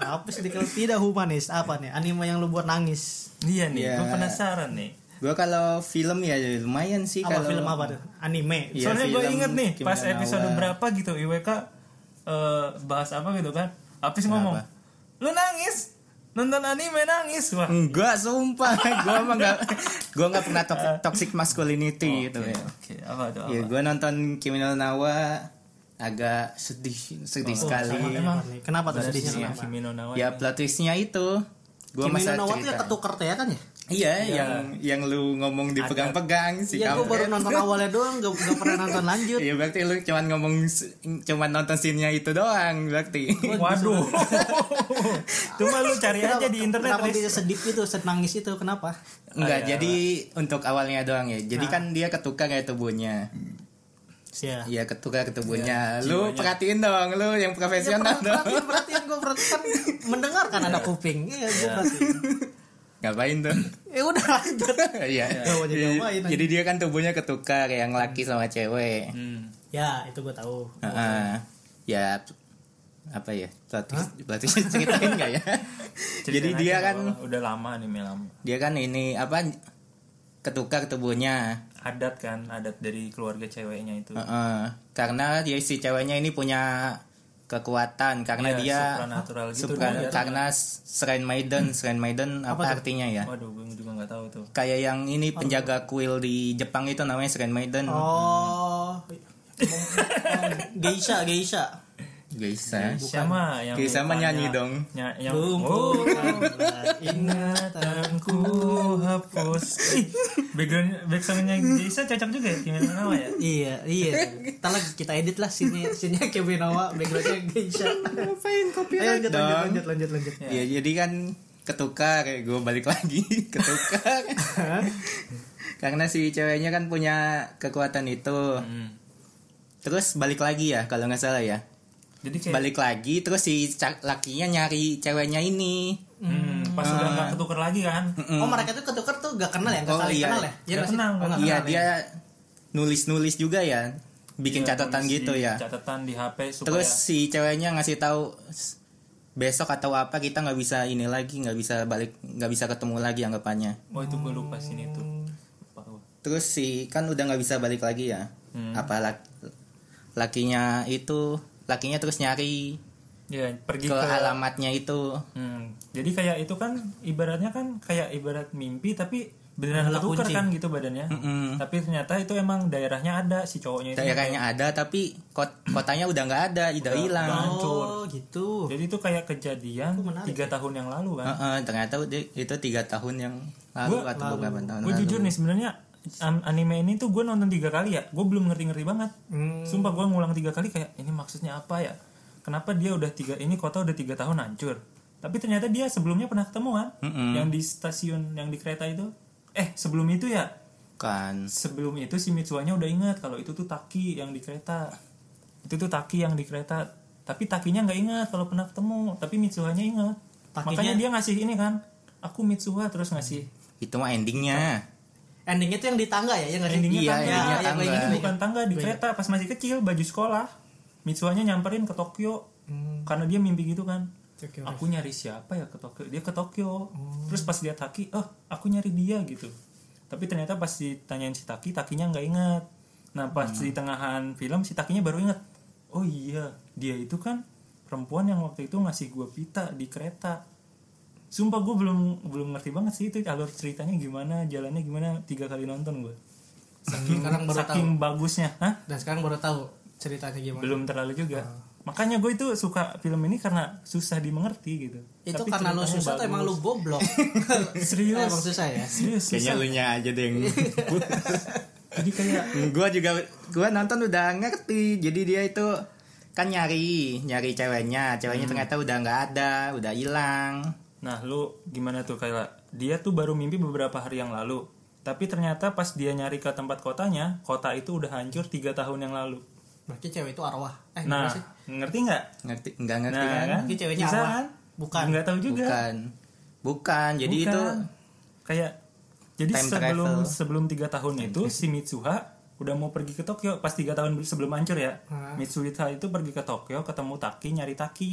[SPEAKER 1] Habis dikira tidak humanis apa nih? Anime yang lu buat nangis.
[SPEAKER 2] iya nih,
[SPEAKER 3] Iya.
[SPEAKER 2] gue penasaran nih.
[SPEAKER 3] Gua kalau film ya lumayan sih
[SPEAKER 1] Apa
[SPEAKER 3] kalau
[SPEAKER 1] film apa tuh? Anime.
[SPEAKER 3] Iya,
[SPEAKER 2] Soalnya gue
[SPEAKER 3] film
[SPEAKER 2] inget nih,
[SPEAKER 3] Kimi
[SPEAKER 2] pas
[SPEAKER 3] no Na wa.
[SPEAKER 2] episode berapa gitu IWK eh, bahas apa gitu kan. Apis ngomong, "Lu nangis nonton anime nangis." Wah,
[SPEAKER 3] Enggak, sumpah. gua mah enggak gua enggak pernah to- toxic
[SPEAKER 1] Oh,
[SPEAKER 3] masculinity gitu ya.
[SPEAKER 2] Oke, apa tuh?
[SPEAKER 3] Ya, gua nonton Kimi no Nawa agak sedih sedih sekali.
[SPEAKER 1] Oh, Sama emang. Kenapa tuh sedihnya Iya,
[SPEAKER 2] Sedihnya
[SPEAKER 1] kenapa?
[SPEAKER 2] Kimi no Na wa.
[SPEAKER 3] Ya plot twist-nya itu gua
[SPEAKER 1] Kimi
[SPEAKER 3] masa
[SPEAKER 1] no Nawa tuh yang
[SPEAKER 3] cerita.
[SPEAKER 1] ketuker teatan ya?
[SPEAKER 3] Iya, yang yang lu ngomong dipegang-pegang si
[SPEAKER 1] Iya, gue
[SPEAKER 3] kampret.
[SPEAKER 1] baru nonton awalnya doang, gak, gak pernah nonton lanjut.
[SPEAKER 3] Iya berarti lu cuman ngomong s- cuman nonton scene-nya itu doang berarti.
[SPEAKER 2] Waduh. Cuma lu cari aja di internet.
[SPEAKER 1] Kenapa
[SPEAKER 2] Riz.
[SPEAKER 1] bisa sedip itu, senangis itu, kenapa?
[SPEAKER 3] Enggak,
[SPEAKER 2] Iya.
[SPEAKER 3] jadi untuk awalnya doang ya.
[SPEAKER 2] Nah.
[SPEAKER 3] Jadi kan dia ketukar kayak tubuhnya.
[SPEAKER 1] Iya.
[SPEAKER 3] Iya, ketukar ke tubuhnya.
[SPEAKER 2] Iya,
[SPEAKER 3] lu perhatiin dong, lu yang profesional dong.
[SPEAKER 1] Perhatian, perhatian gue perhatian mendengar kan ada kuping. Iya, gue perhatiin.
[SPEAKER 3] Ngapain tuh?
[SPEAKER 1] Eh udah lanjut.
[SPEAKER 3] Iya.
[SPEAKER 1] Gak mau jadi
[SPEAKER 3] Jadi-
[SPEAKER 1] ngapain,
[SPEAKER 3] Jadi dia kan tubuhnya ketukar yang laki sama cewek.
[SPEAKER 2] Hmm.
[SPEAKER 1] Ya, itu gue tahu.
[SPEAKER 3] Heeh. Ya apa ya? Berarti berarti ceritain enggak ya? Jadi
[SPEAKER 2] Ceritain
[SPEAKER 3] dia
[SPEAKER 2] aja,
[SPEAKER 3] kan
[SPEAKER 2] nggak apa-apa. udah lama anime lama.
[SPEAKER 3] dia kan ini apa ketukar tubuhnya.
[SPEAKER 2] Adat kan, adat dari keluarga ceweknya itu.
[SPEAKER 3] Heeh. gitu. karena dia si ceweknya ini punya kekuatan karena
[SPEAKER 2] Iya,
[SPEAKER 3] dia
[SPEAKER 2] supranatural gitu
[SPEAKER 3] supra-
[SPEAKER 2] dia.
[SPEAKER 3] karena Shrine Maiden Shrine Maiden apa, artinya ya
[SPEAKER 2] Waduh, gue juga nggak tahu tuh.
[SPEAKER 3] kayak yang ini penjaga kuil di Jepang itu namanya Shrine Maiden
[SPEAKER 1] Oh. geisha, geisha.
[SPEAKER 3] Geisha
[SPEAKER 2] Sama yang
[SPEAKER 3] Oke, sama
[SPEAKER 2] mukanya-
[SPEAKER 3] nyanyi dong.
[SPEAKER 2] Nya- yang
[SPEAKER 1] Lumpuh.
[SPEAKER 2] Oh, ingatanku hapus. Ih, background backsoundnya Jason cocok juga ya Kimi no Na wa ya.
[SPEAKER 1] Iya, iya. Kita lagi kita edit lah sini sini Kevinawa backgroundnya Geisha. Ngapain kopi lanjut,
[SPEAKER 3] dong?
[SPEAKER 1] lanjut, lanjut, lanjut, lanjut.
[SPEAKER 3] ya jadi kan ketukar kayak gue balik lagi ketukar karena si ceweknya kan punya kekuatan itu terus balik lagi ya kalau nggak salah ya
[SPEAKER 2] Jadi kayak
[SPEAKER 3] balik lagi terus si ca- lakinya nyari ceweknya ini
[SPEAKER 2] hmm, pas udah nggak ketuker lagi kan.
[SPEAKER 3] Hmm.
[SPEAKER 1] Oh mereka tuh ketukar tuh gak kenal ya, gak
[SPEAKER 3] Oh,
[SPEAKER 1] saling
[SPEAKER 3] iya.
[SPEAKER 1] kenal ya? Iya
[SPEAKER 2] Nggak kan?
[SPEAKER 1] nggak sih?
[SPEAKER 2] kenal,
[SPEAKER 1] Oh,
[SPEAKER 2] nggak
[SPEAKER 1] nggak
[SPEAKER 3] Iya
[SPEAKER 1] kenal ya?
[SPEAKER 3] dia nulis-nulis juga ya, bikin
[SPEAKER 2] Iya,
[SPEAKER 3] catatan
[SPEAKER 2] tulis di-
[SPEAKER 3] gitu ya.
[SPEAKER 2] Catatan di HP supaya
[SPEAKER 3] Terus si ceweknya ngasih tahu "S- besok atau apa kita nggak bisa ini lagi, nggak bisa balik, nggak bisa ketemu lagi anggapannya.
[SPEAKER 2] Oh itu gue lupa sini tuh. Lupa gua.
[SPEAKER 3] Terus si kan udah nggak bisa balik lagi ya.
[SPEAKER 2] Hmm.
[SPEAKER 3] Apa lak- lakinya itu, lakinya terus nyari
[SPEAKER 2] Ya pergi
[SPEAKER 3] ke
[SPEAKER 2] ke,
[SPEAKER 3] alamatnya itu.
[SPEAKER 2] Hmm, jadi kayak itu kan ibaratnya kan kayak ibarat mimpi tapi beneran ketukar kan gitu badannya. Tapi ternyata itu emang daerahnya ada si cowoknya itu.
[SPEAKER 3] Daerahnya ada tapi kot- kotanya udah nggak ada, udah hilang.
[SPEAKER 1] Oh gitu.
[SPEAKER 2] Jadi itu kayak kejadian tiga tahun yang lalu kan.
[SPEAKER 3] Heeh, ternyata dia- itu tiga tahun yang lalu atau beberapa tahun
[SPEAKER 2] Gue
[SPEAKER 3] lalu.
[SPEAKER 2] jujur nih sebenarnya an- anime ini tuh gue nonton tiga kali ya. Gue belum ngerti-ngerti banget. Sumpah gue ngulang tiga kali kayak ini maksudnya apa ya? Kenapa dia udah tiga ini kota udah tiga tahun hancur? Tapi ternyata dia sebelumnya pernah ketemu kan? Yang di stasiun yang di kereta itu. Eh sebelum itu ya
[SPEAKER 3] Kan.
[SPEAKER 2] sebelum itu si Mitsuhanya udah ingat kalau itu tuh Taki yang di kereta itu tuh Taki yang di kereta tapi Takinya nggak ingat kalau pernah ketemu tapi Mitsuhanya ingat makanya dia ngasih ini kan aku Mitsuha terus ngasih
[SPEAKER 3] Itu mah endingnya.
[SPEAKER 1] Endingnya tuh yang di tangga ya, yang nggak sih?
[SPEAKER 2] Endingnya
[SPEAKER 1] Iya,
[SPEAKER 2] tangga.
[SPEAKER 1] endingnya
[SPEAKER 3] Iya,
[SPEAKER 1] tangga.
[SPEAKER 3] iya,
[SPEAKER 2] ini bukan tangga di kereta pas masih kecil baju sekolah Mitsuhanya nyamperin ke Tokyo
[SPEAKER 1] Hmm.
[SPEAKER 2] karena dia mimpi gitu kan
[SPEAKER 1] Tokyo
[SPEAKER 2] aku nyari siapa ya ke Tokyo dia ke Tokyo terus pas dia Taki oh aku nyari dia gitu tapi ternyata pas ditanyain si Taki Takinya nggak ingat nah pas di tengahan film si Takinya baru ingat oh iya dia itu kan perempuan yang waktu itu ngasih gua pita di kereta sumpah gue belum belum ngerti banget sih itu alur ceritanya gimana jalannya gimana tiga kali nonton gue saking
[SPEAKER 1] sekarang baru
[SPEAKER 2] saking bagusnya Hah?
[SPEAKER 1] Dan sekarang baru tahu ceritanya gimana.
[SPEAKER 2] belum terlalu juga makanya gue itu suka film ini karena susah dimengerti gitu
[SPEAKER 1] Itu
[SPEAKER 2] Tapi
[SPEAKER 1] karena lo
[SPEAKER 2] ceritanya
[SPEAKER 1] susah atau
[SPEAKER 2] bagus.
[SPEAKER 1] emang lo goblok?
[SPEAKER 2] Serius.
[SPEAKER 1] Emang susah ya?
[SPEAKER 2] serius
[SPEAKER 3] Kayaknya
[SPEAKER 2] susah.
[SPEAKER 3] lu nya aja deh.
[SPEAKER 2] jadi kayak
[SPEAKER 3] gua juga gua nonton udah ngerti. Jadi dia itu kan nyari nyari ceweknya, ceweknya ternyata udah nggak ada, udah hilang.
[SPEAKER 2] nah lu gimana tuh kayak dia tuh baru mimpi beberapa hari yang lalu tapi ternyata pas dia nyari ke tempat kotanya kota itu udah hancur tiga tahun yang lalu
[SPEAKER 1] Berarti cewek itu arwah. Eh,
[SPEAKER 2] nah
[SPEAKER 1] gimana sih?
[SPEAKER 2] ngerti nggak
[SPEAKER 3] Ngerti nggak ngerti
[SPEAKER 2] nah
[SPEAKER 3] kan?
[SPEAKER 2] kan?
[SPEAKER 1] Jadi ceweknya
[SPEAKER 2] Bisa
[SPEAKER 1] arwah.
[SPEAKER 2] kan?
[SPEAKER 1] Bukan.
[SPEAKER 2] nggak tahu juga
[SPEAKER 3] Bukan. Bukan. Jadi
[SPEAKER 2] Bukan.
[SPEAKER 3] itu
[SPEAKER 2] kayak jadi
[SPEAKER 3] Time
[SPEAKER 2] sebelum
[SPEAKER 3] travel.
[SPEAKER 2] sebelum tiga tahun itu si Mitsuha udah mau pergi ke Tokyo pas tiga tahun sebelum hancur ya Mitsuhita itu pergi ke Tokyo ketemu Taki nyari Taki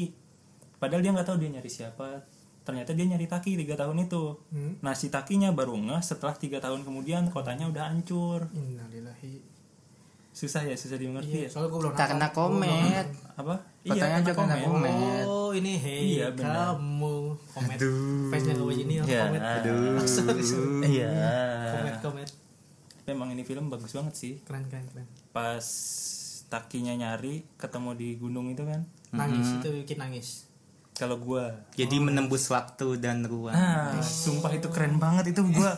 [SPEAKER 2] padahal dia nggak tahu dia nyari siapa ternyata dia nyari Taki tiga tahun itu nah si Takinya baru ngeh setelah tiga tahun kemudian kotanya udah hancur
[SPEAKER 1] Innalillahi.
[SPEAKER 2] susah ya susah dimengerti ya
[SPEAKER 1] Soalnya gue belum
[SPEAKER 4] Karena komet.
[SPEAKER 2] apa Iya,
[SPEAKER 4] Kotanya aja karena
[SPEAKER 2] komen.
[SPEAKER 4] komet.
[SPEAKER 1] nonton. Oh ini hei
[SPEAKER 2] Iya, benar.
[SPEAKER 1] kamu komet. Face-nya gue ini
[SPEAKER 2] Ya,
[SPEAKER 1] komet.
[SPEAKER 2] aduh.
[SPEAKER 1] Sorry, sorry.
[SPEAKER 2] Iya.
[SPEAKER 1] Komet komet.
[SPEAKER 2] Memang ini film bagus banget sih.
[SPEAKER 1] Keren keren keren.
[SPEAKER 2] Pas takinya nyari ketemu di gunung itu kan.
[SPEAKER 1] Nangis itu bikin nangis.
[SPEAKER 2] Kalau gua
[SPEAKER 3] Jadi menembus waktu dan ruang.
[SPEAKER 2] ah, sumpah itu keren banget itu gua.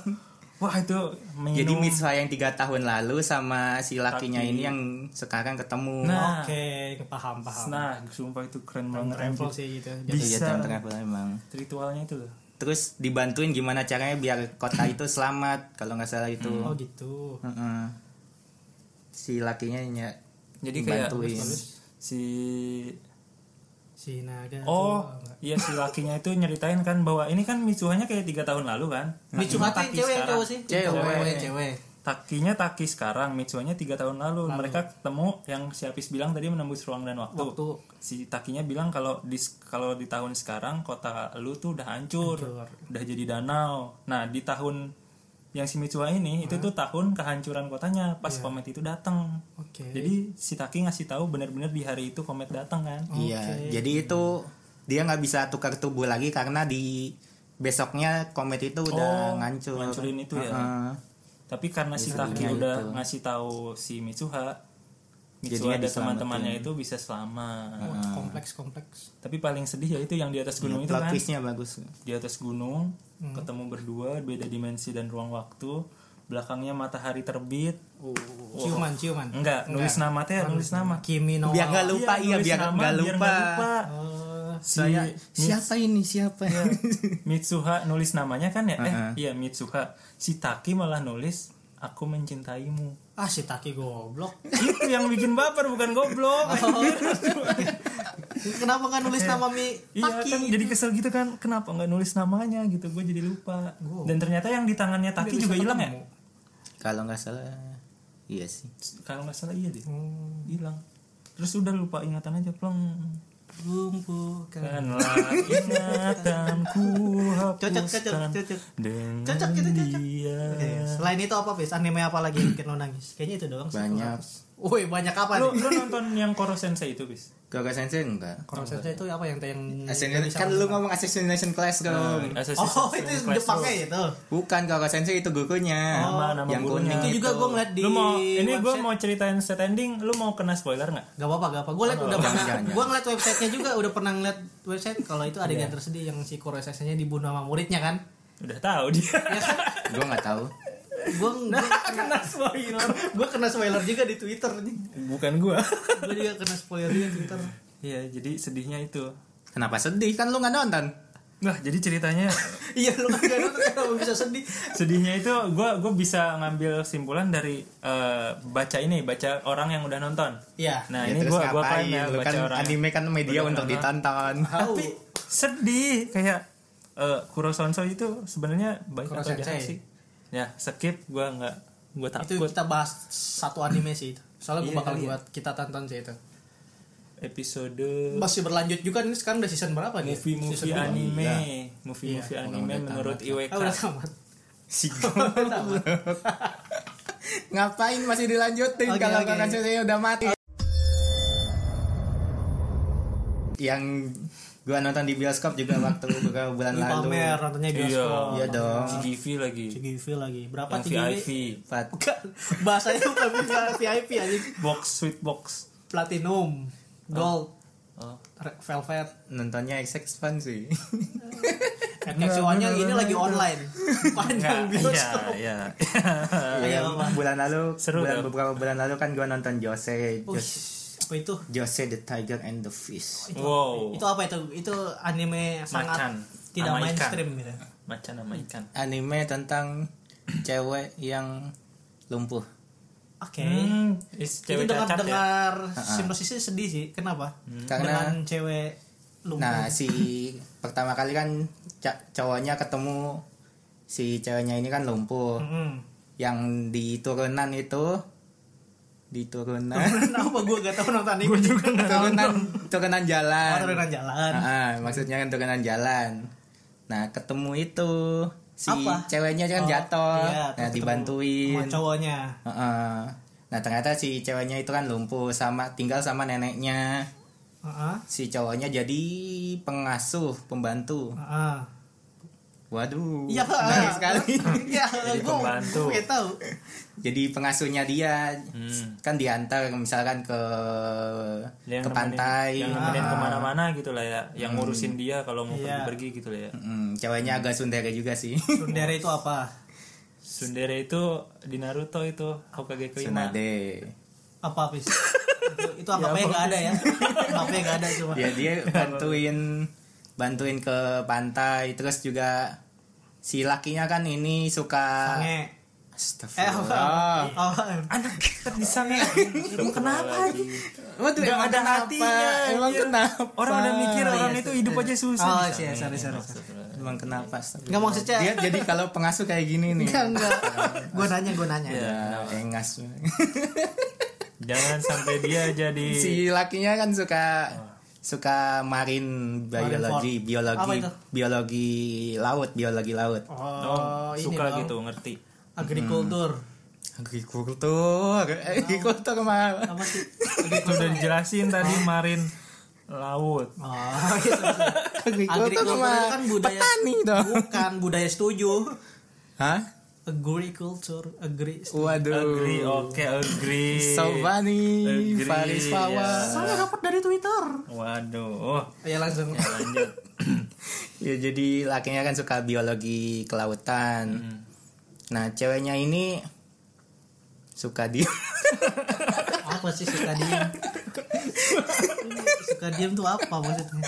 [SPEAKER 2] Wah, itu minum.
[SPEAKER 3] Jadi Mitsuha yang tiga tahun lalu sama si lakinya ini yang sekarang ketemu.
[SPEAKER 2] nah,
[SPEAKER 1] Oke, paham paham.
[SPEAKER 2] nah, sumpah itu keren banget.
[SPEAKER 1] Travel
[SPEAKER 2] anjir.
[SPEAKER 1] sih gitu.
[SPEAKER 4] Iya
[SPEAKER 2] Bisa
[SPEAKER 4] time travel emang.
[SPEAKER 2] ritualnya itu loh.
[SPEAKER 3] Terus dibantuin gimana caranya biar kota itu selamat kalau nggak salah itu.
[SPEAKER 2] Hmm,
[SPEAKER 1] Oh gitu.
[SPEAKER 3] Heeh. Si lakinya ny-
[SPEAKER 2] Jadi kayak
[SPEAKER 3] Bantuin.
[SPEAKER 2] si
[SPEAKER 1] Si naga.
[SPEAKER 2] Oh, iya si lakinya itu nyeritain kan bahwa ini kan Mitsuhanya kayak tiga tahun lalu kan. Nah,
[SPEAKER 1] Micu mati
[SPEAKER 2] Taki
[SPEAKER 1] cewek
[SPEAKER 2] sekarang.
[SPEAKER 1] cowok sih.
[SPEAKER 3] Cewek.
[SPEAKER 1] cewek.
[SPEAKER 2] Takinya Taki sekarang, Mitsuhanya tiga tahun lalu. Mereka ketemu yang si Apis bilang tadi menembus ruang dan waktu.
[SPEAKER 1] Waktu.
[SPEAKER 2] Si Takinya bilang kalau di kalau di tahun sekarang kota lu tuh udah hancur,
[SPEAKER 1] Hancur.
[SPEAKER 2] udah jadi danau. Nah di tahun yang si Mitsuha ini itu tuh tahun kehancuran kotanya pas komet itu datang.
[SPEAKER 1] Iya. Oke.
[SPEAKER 2] Jadi si Taki ngasih tahu benar-benar di hari itu komet datang kan.
[SPEAKER 3] Iya. Jadi itu dia nggak bisa tukar tubuh lagi karena di besoknya komet itu udah
[SPEAKER 2] Oh,
[SPEAKER 3] ngancur.
[SPEAKER 2] ngancurin itu ya.
[SPEAKER 3] Heeh.
[SPEAKER 2] Tapi karena si Taki udah ngasih tahu si Mitsuha, Mitsuha dan teman-temannya itu bisa selamat.
[SPEAKER 1] Oh, Kompleks kompleks.
[SPEAKER 2] Tapi paling sedih ya itu yang di atas gunung itu kan.
[SPEAKER 3] Plot twist-nya bagus.
[SPEAKER 2] Di atas gunung, ketemu berdua, beda dimensi dan ruang waktu. Belakangnya matahari terbit.
[SPEAKER 1] Ciuman ciuman.
[SPEAKER 2] Oh. Enggak, nulis nama teh, nulis nama. Oh,
[SPEAKER 1] Kimi no
[SPEAKER 3] Biar nggak
[SPEAKER 1] wa-
[SPEAKER 3] lupa, iya,
[SPEAKER 2] nulis
[SPEAKER 3] biar
[SPEAKER 2] nama,
[SPEAKER 3] nggak
[SPEAKER 2] biar
[SPEAKER 3] lupa. Oh,
[SPEAKER 1] Eh,
[SPEAKER 2] Si
[SPEAKER 3] Saya
[SPEAKER 2] Mi-
[SPEAKER 3] siapa ini siapa?
[SPEAKER 2] Iya. Mitsuha nulis namanya kan ya? Eh, iya Mitsuha. Si Taki malah nulis aku mencintaimu.
[SPEAKER 1] ah si Taki goblok.
[SPEAKER 2] Itu yang bikin baper bukan goblok.
[SPEAKER 3] Oh,
[SPEAKER 1] Kenapa nggak nulis nama Mi
[SPEAKER 2] Iya
[SPEAKER 1] Taki?
[SPEAKER 2] kan jadi kesel gitu kan kenapa nggak nulis namanya gitu gue jadi lupa dan ternyata yang di tangannya Taki juga hilang ya
[SPEAKER 3] Kalau nggak salah, iya sih.
[SPEAKER 2] kalau nggak salah iya deh hilang terus udah lupa ingatan aja plong
[SPEAKER 1] Lumpuhkan.
[SPEAKER 2] kanlah Kan ingatanku
[SPEAKER 1] Cocok, cocok,
[SPEAKER 2] hapuskan
[SPEAKER 1] cocok.
[SPEAKER 2] dengan
[SPEAKER 1] Cocok, kita cocok.
[SPEAKER 2] dia
[SPEAKER 1] Oke, Selain itu apa bis? Anime apa lagi yang bikin lo nangis? Kayaknya itu doang. sih.
[SPEAKER 3] Banyak.
[SPEAKER 1] Woi banyak apa
[SPEAKER 2] lo,
[SPEAKER 1] nih?
[SPEAKER 2] lo nonton yang Koro Sensei itu bis
[SPEAKER 3] Gak sensei enggak?
[SPEAKER 1] Konsepnya itu apa yang yang
[SPEAKER 3] Assassination, kan lu ngomong assassination
[SPEAKER 2] Eh,
[SPEAKER 3] classroom.
[SPEAKER 2] Assassin's
[SPEAKER 1] Oh itu
[SPEAKER 2] Creed
[SPEAKER 1] Jepangnya
[SPEAKER 2] Classroom.
[SPEAKER 1] itu.
[SPEAKER 3] Bukan kalau sensei itu gurunya.
[SPEAKER 2] Nama- nama
[SPEAKER 3] yang
[SPEAKER 2] gurunya.
[SPEAKER 3] kuning
[SPEAKER 1] Itu juga gue ngeliat di
[SPEAKER 2] Lu mau ini gue
[SPEAKER 1] website.
[SPEAKER 2] mau ceritain set ending lu mau kena spoiler nggak
[SPEAKER 1] Gak apa-apa, gak apa. Gue liat udah pernah,
[SPEAKER 3] jangan, jangan.
[SPEAKER 1] gue ngeliat websitenya juga udah pernah ngeliat website kalau itu adegan
[SPEAKER 3] Iya.
[SPEAKER 1] tersedih yang si Kuro Sensei-nya dibunuh sama muridnya kan.
[SPEAKER 2] udah tahu dia
[SPEAKER 3] Gue nggak tahu.
[SPEAKER 1] Gue Nah, kena spoiler, gue kena spoiler juga di Twitter nih.
[SPEAKER 2] bukan gue
[SPEAKER 1] Gue juga kena spoiler juga di Twitter.
[SPEAKER 2] Iya, jadi sedihnya itu.
[SPEAKER 3] Kenapa sedih? Kan lu nggak nonton.
[SPEAKER 2] Nah, jadi ceritanya
[SPEAKER 1] Iya lu nggak nonton kenapa bisa sedih?
[SPEAKER 2] sedihnya itu gua gua bisa ngambil simpulan dari eh, baca ini, baca orang yang udah nonton.
[SPEAKER 1] Iya.
[SPEAKER 2] Nah,
[SPEAKER 3] Ya
[SPEAKER 2] ini
[SPEAKER 3] terus
[SPEAKER 2] gua gua klaim
[SPEAKER 3] ngapain?
[SPEAKER 2] ya
[SPEAKER 3] Lu
[SPEAKER 2] baca
[SPEAKER 3] kan
[SPEAKER 2] orang.
[SPEAKER 3] anime kan media
[SPEAKER 2] Udah
[SPEAKER 3] untuk
[SPEAKER 2] nonton.
[SPEAKER 3] ditonton.
[SPEAKER 1] Tapi
[SPEAKER 2] Sedih kayak eh, Kurosonso itu sebenarnya baik
[SPEAKER 1] Kuro
[SPEAKER 2] atau jahat
[SPEAKER 1] Sensei.
[SPEAKER 2] sih. Ya, skip gua nggak gua
[SPEAKER 1] eh. itu
[SPEAKER 2] takut
[SPEAKER 1] kita bahas satu anime sih itu. Soalnya gue
[SPEAKER 2] Iya,
[SPEAKER 1] bakal
[SPEAKER 2] kali ya.
[SPEAKER 1] buat kita tonton sih itu.
[SPEAKER 2] episode
[SPEAKER 1] Masih berlanjut juga nih sekarang udah season berapa nih?
[SPEAKER 2] movie Iya.
[SPEAKER 1] Season
[SPEAKER 2] movie
[SPEAKER 1] dua.
[SPEAKER 2] anime, movie movie
[SPEAKER 1] Iya,
[SPEAKER 2] anime menurut IWK.
[SPEAKER 1] Ah udah tamat.
[SPEAKER 3] Si
[SPEAKER 1] Udah tamat.
[SPEAKER 3] Ngapain masih dilanjutin
[SPEAKER 1] Oke,
[SPEAKER 3] kalau
[SPEAKER 1] oke.
[SPEAKER 3] kakak saya udah mati? Yang gua nonton di bioskop juga waktu beberapa bulan
[SPEAKER 1] Di
[SPEAKER 3] lalu.
[SPEAKER 1] pamer nontonnya di
[SPEAKER 2] Iya,
[SPEAKER 1] bioskop.
[SPEAKER 3] Iya dong.
[SPEAKER 2] CGV lagi.
[SPEAKER 1] CGV lagi. Berapa
[SPEAKER 2] Yang
[SPEAKER 1] CGV?
[SPEAKER 2] VIP,
[SPEAKER 3] Empat.
[SPEAKER 1] Bukan, bahasanya bukan bukan VIP aja.
[SPEAKER 2] box sweet box.
[SPEAKER 1] Platinum, gold,
[SPEAKER 2] Oh.
[SPEAKER 1] red velvet.
[SPEAKER 3] Nontonnya XX Fun sih.
[SPEAKER 1] Keksiwannya ini lagi online. Panjang bioskop.
[SPEAKER 2] Iya,
[SPEAKER 1] Iya, Pak.
[SPEAKER 3] bulan lalu,
[SPEAKER 2] Seru
[SPEAKER 3] bulan
[SPEAKER 2] dong.
[SPEAKER 3] beberapa bulan lalu kan gua nonton
[SPEAKER 1] Ush,
[SPEAKER 3] Jose, Jose,
[SPEAKER 1] apa itu?
[SPEAKER 3] Jose the Tiger and the Fish.
[SPEAKER 2] Wow.
[SPEAKER 1] Itu apa itu? Itu anime sangat
[SPEAKER 2] Oh. Macan.
[SPEAKER 1] tidak
[SPEAKER 2] Sama ikan.
[SPEAKER 1] mainstream gitu.
[SPEAKER 2] Macan sama ikan.
[SPEAKER 3] Anime tentang cewek yang lumpuh.
[SPEAKER 1] Oke.
[SPEAKER 2] Hmm, is
[SPEAKER 1] Itu
[SPEAKER 2] cewek
[SPEAKER 1] dengar
[SPEAKER 2] cacat ya.
[SPEAKER 1] dengar sinopsisnya sedih sih. Kenapa?
[SPEAKER 3] Hmm. Karena-
[SPEAKER 1] dengan cewek lumpuh.
[SPEAKER 3] Nah, si pertama kali kan ca- cowoknya ketemu
[SPEAKER 1] Hmm.
[SPEAKER 3] si ceweknya ini kan lumpuh.
[SPEAKER 1] Mm-mm.
[SPEAKER 3] Yang di turunan itu diturunan
[SPEAKER 1] Kenapa gue gak tau nonton anime?
[SPEAKER 2] Gue juga nggak tahu.
[SPEAKER 3] turunan turunan jalan
[SPEAKER 1] Oh, Turunan jalan.
[SPEAKER 3] Ah, maksudnya kan turunan jalan nah ketemu itu si
[SPEAKER 1] Apa?
[SPEAKER 3] ceweknya kan
[SPEAKER 1] Oh,
[SPEAKER 3] jatuh
[SPEAKER 1] iya,
[SPEAKER 3] nah
[SPEAKER 1] terus
[SPEAKER 3] dibantuin
[SPEAKER 1] Sama cowoknya.
[SPEAKER 3] Heeh. nah ternyata si ceweknya itu kan lumpuh sama tinggal sama neneknya
[SPEAKER 1] Heeh.
[SPEAKER 3] si cowoknya jadi pengasuh pembantu
[SPEAKER 1] Heeh.
[SPEAKER 3] waduh
[SPEAKER 1] Iya,
[SPEAKER 3] menarik sekali
[SPEAKER 1] Iya, gue
[SPEAKER 2] pembantu.
[SPEAKER 1] pengen tahu.
[SPEAKER 3] jadi pengasuhnya dia kan diantar misalkan ke
[SPEAKER 2] Hmm. Dia yang
[SPEAKER 3] ke
[SPEAKER 2] nemenin-
[SPEAKER 3] pantai
[SPEAKER 2] yang nemenin kemana-mana gitu lah ya yang ngurusin dia kalau mau
[SPEAKER 1] Ah. Iya.
[SPEAKER 2] pergi-pergi gitu lah ya
[SPEAKER 3] Hmm, ceweknya agak sundere juga sih
[SPEAKER 1] Sundere itu apa?
[SPEAKER 2] Sundere itu di Naruto itu Hokage kelima
[SPEAKER 3] Tsunade
[SPEAKER 1] Apa pis? itu, itu apa-apa gak ada ya. Apa-apa gak ada cuma.
[SPEAKER 3] ya dia bantuin bantuin ke pantai terus juga si lakinya kan ini suka
[SPEAKER 1] Sange. Eh, apa?
[SPEAKER 2] Ah.
[SPEAKER 3] Astagfirullah.
[SPEAKER 1] Apa?
[SPEAKER 2] anak kita di sana Emang kenapa
[SPEAKER 3] Waduh,
[SPEAKER 2] Nggak
[SPEAKER 3] emang
[SPEAKER 2] ada
[SPEAKER 3] kenapa?
[SPEAKER 2] hatinya,
[SPEAKER 3] Emang kenapa?
[SPEAKER 2] orang udah mikir orang itu hidup aja
[SPEAKER 1] iya,
[SPEAKER 2] susah
[SPEAKER 1] Oh,
[SPEAKER 2] di
[SPEAKER 1] sih,
[SPEAKER 2] sana.
[SPEAKER 1] sorry, sorry.
[SPEAKER 3] Emang kenapa? Astagfirullah.
[SPEAKER 1] Enggak maksudnya.
[SPEAKER 3] Dia jadi kalau pengasuh kayak gini nih.
[SPEAKER 1] Enggak, enggak. Gue nanya, gue nanya.
[SPEAKER 2] Iya.
[SPEAKER 3] Ya, engas.
[SPEAKER 2] jangan sampai dia jadi
[SPEAKER 3] si lakinya kan suka suka marin biologi,
[SPEAKER 1] Marin Apa
[SPEAKER 3] biologi,
[SPEAKER 1] itu?
[SPEAKER 3] biologi laut, biologi laut.
[SPEAKER 1] Oh, ini
[SPEAKER 2] suka
[SPEAKER 1] dong.
[SPEAKER 2] gitu ngerti
[SPEAKER 1] Agrikultur.
[SPEAKER 3] Agrikultur, Eh, agrikultur mah.
[SPEAKER 1] Apa sih?
[SPEAKER 2] itu udah dijelasin tadi marin laut
[SPEAKER 1] Oh, gitu.
[SPEAKER 3] Agrikultur
[SPEAKER 1] Agrikultur
[SPEAKER 3] mah
[SPEAKER 1] kan budaya-
[SPEAKER 3] petani dong.
[SPEAKER 1] Bukan budaya setuju.
[SPEAKER 3] Hah?
[SPEAKER 1] Agriculture, agri.
[SPEAKER 3] Waduh.
[SPEAKER 2] agree oke agree
[SPEAKER 3] So funny,
[SPEAKER 2] Agree,
[SPEAKER 3] Faris
[SPEAKER 2] ya.
[SPEAKER 3] Fawaz.
[SPEAKER 1] Saya dapat dari Twitter.
[SPEAKER 2] waduh Oh,
[SPEAKER 1] Ya langsung.
[SPEAKER 2] lanjut
[SPEAKER 3] Ya jadi lakinya kan suka biologi kelautan.
[SPEAKER 1] Hmm.
[SPEAKER 3] Nah, ceweknya ini suka di
[SPEAKER 1] apa sih suka diem? suka diem tuh apa maksudnya?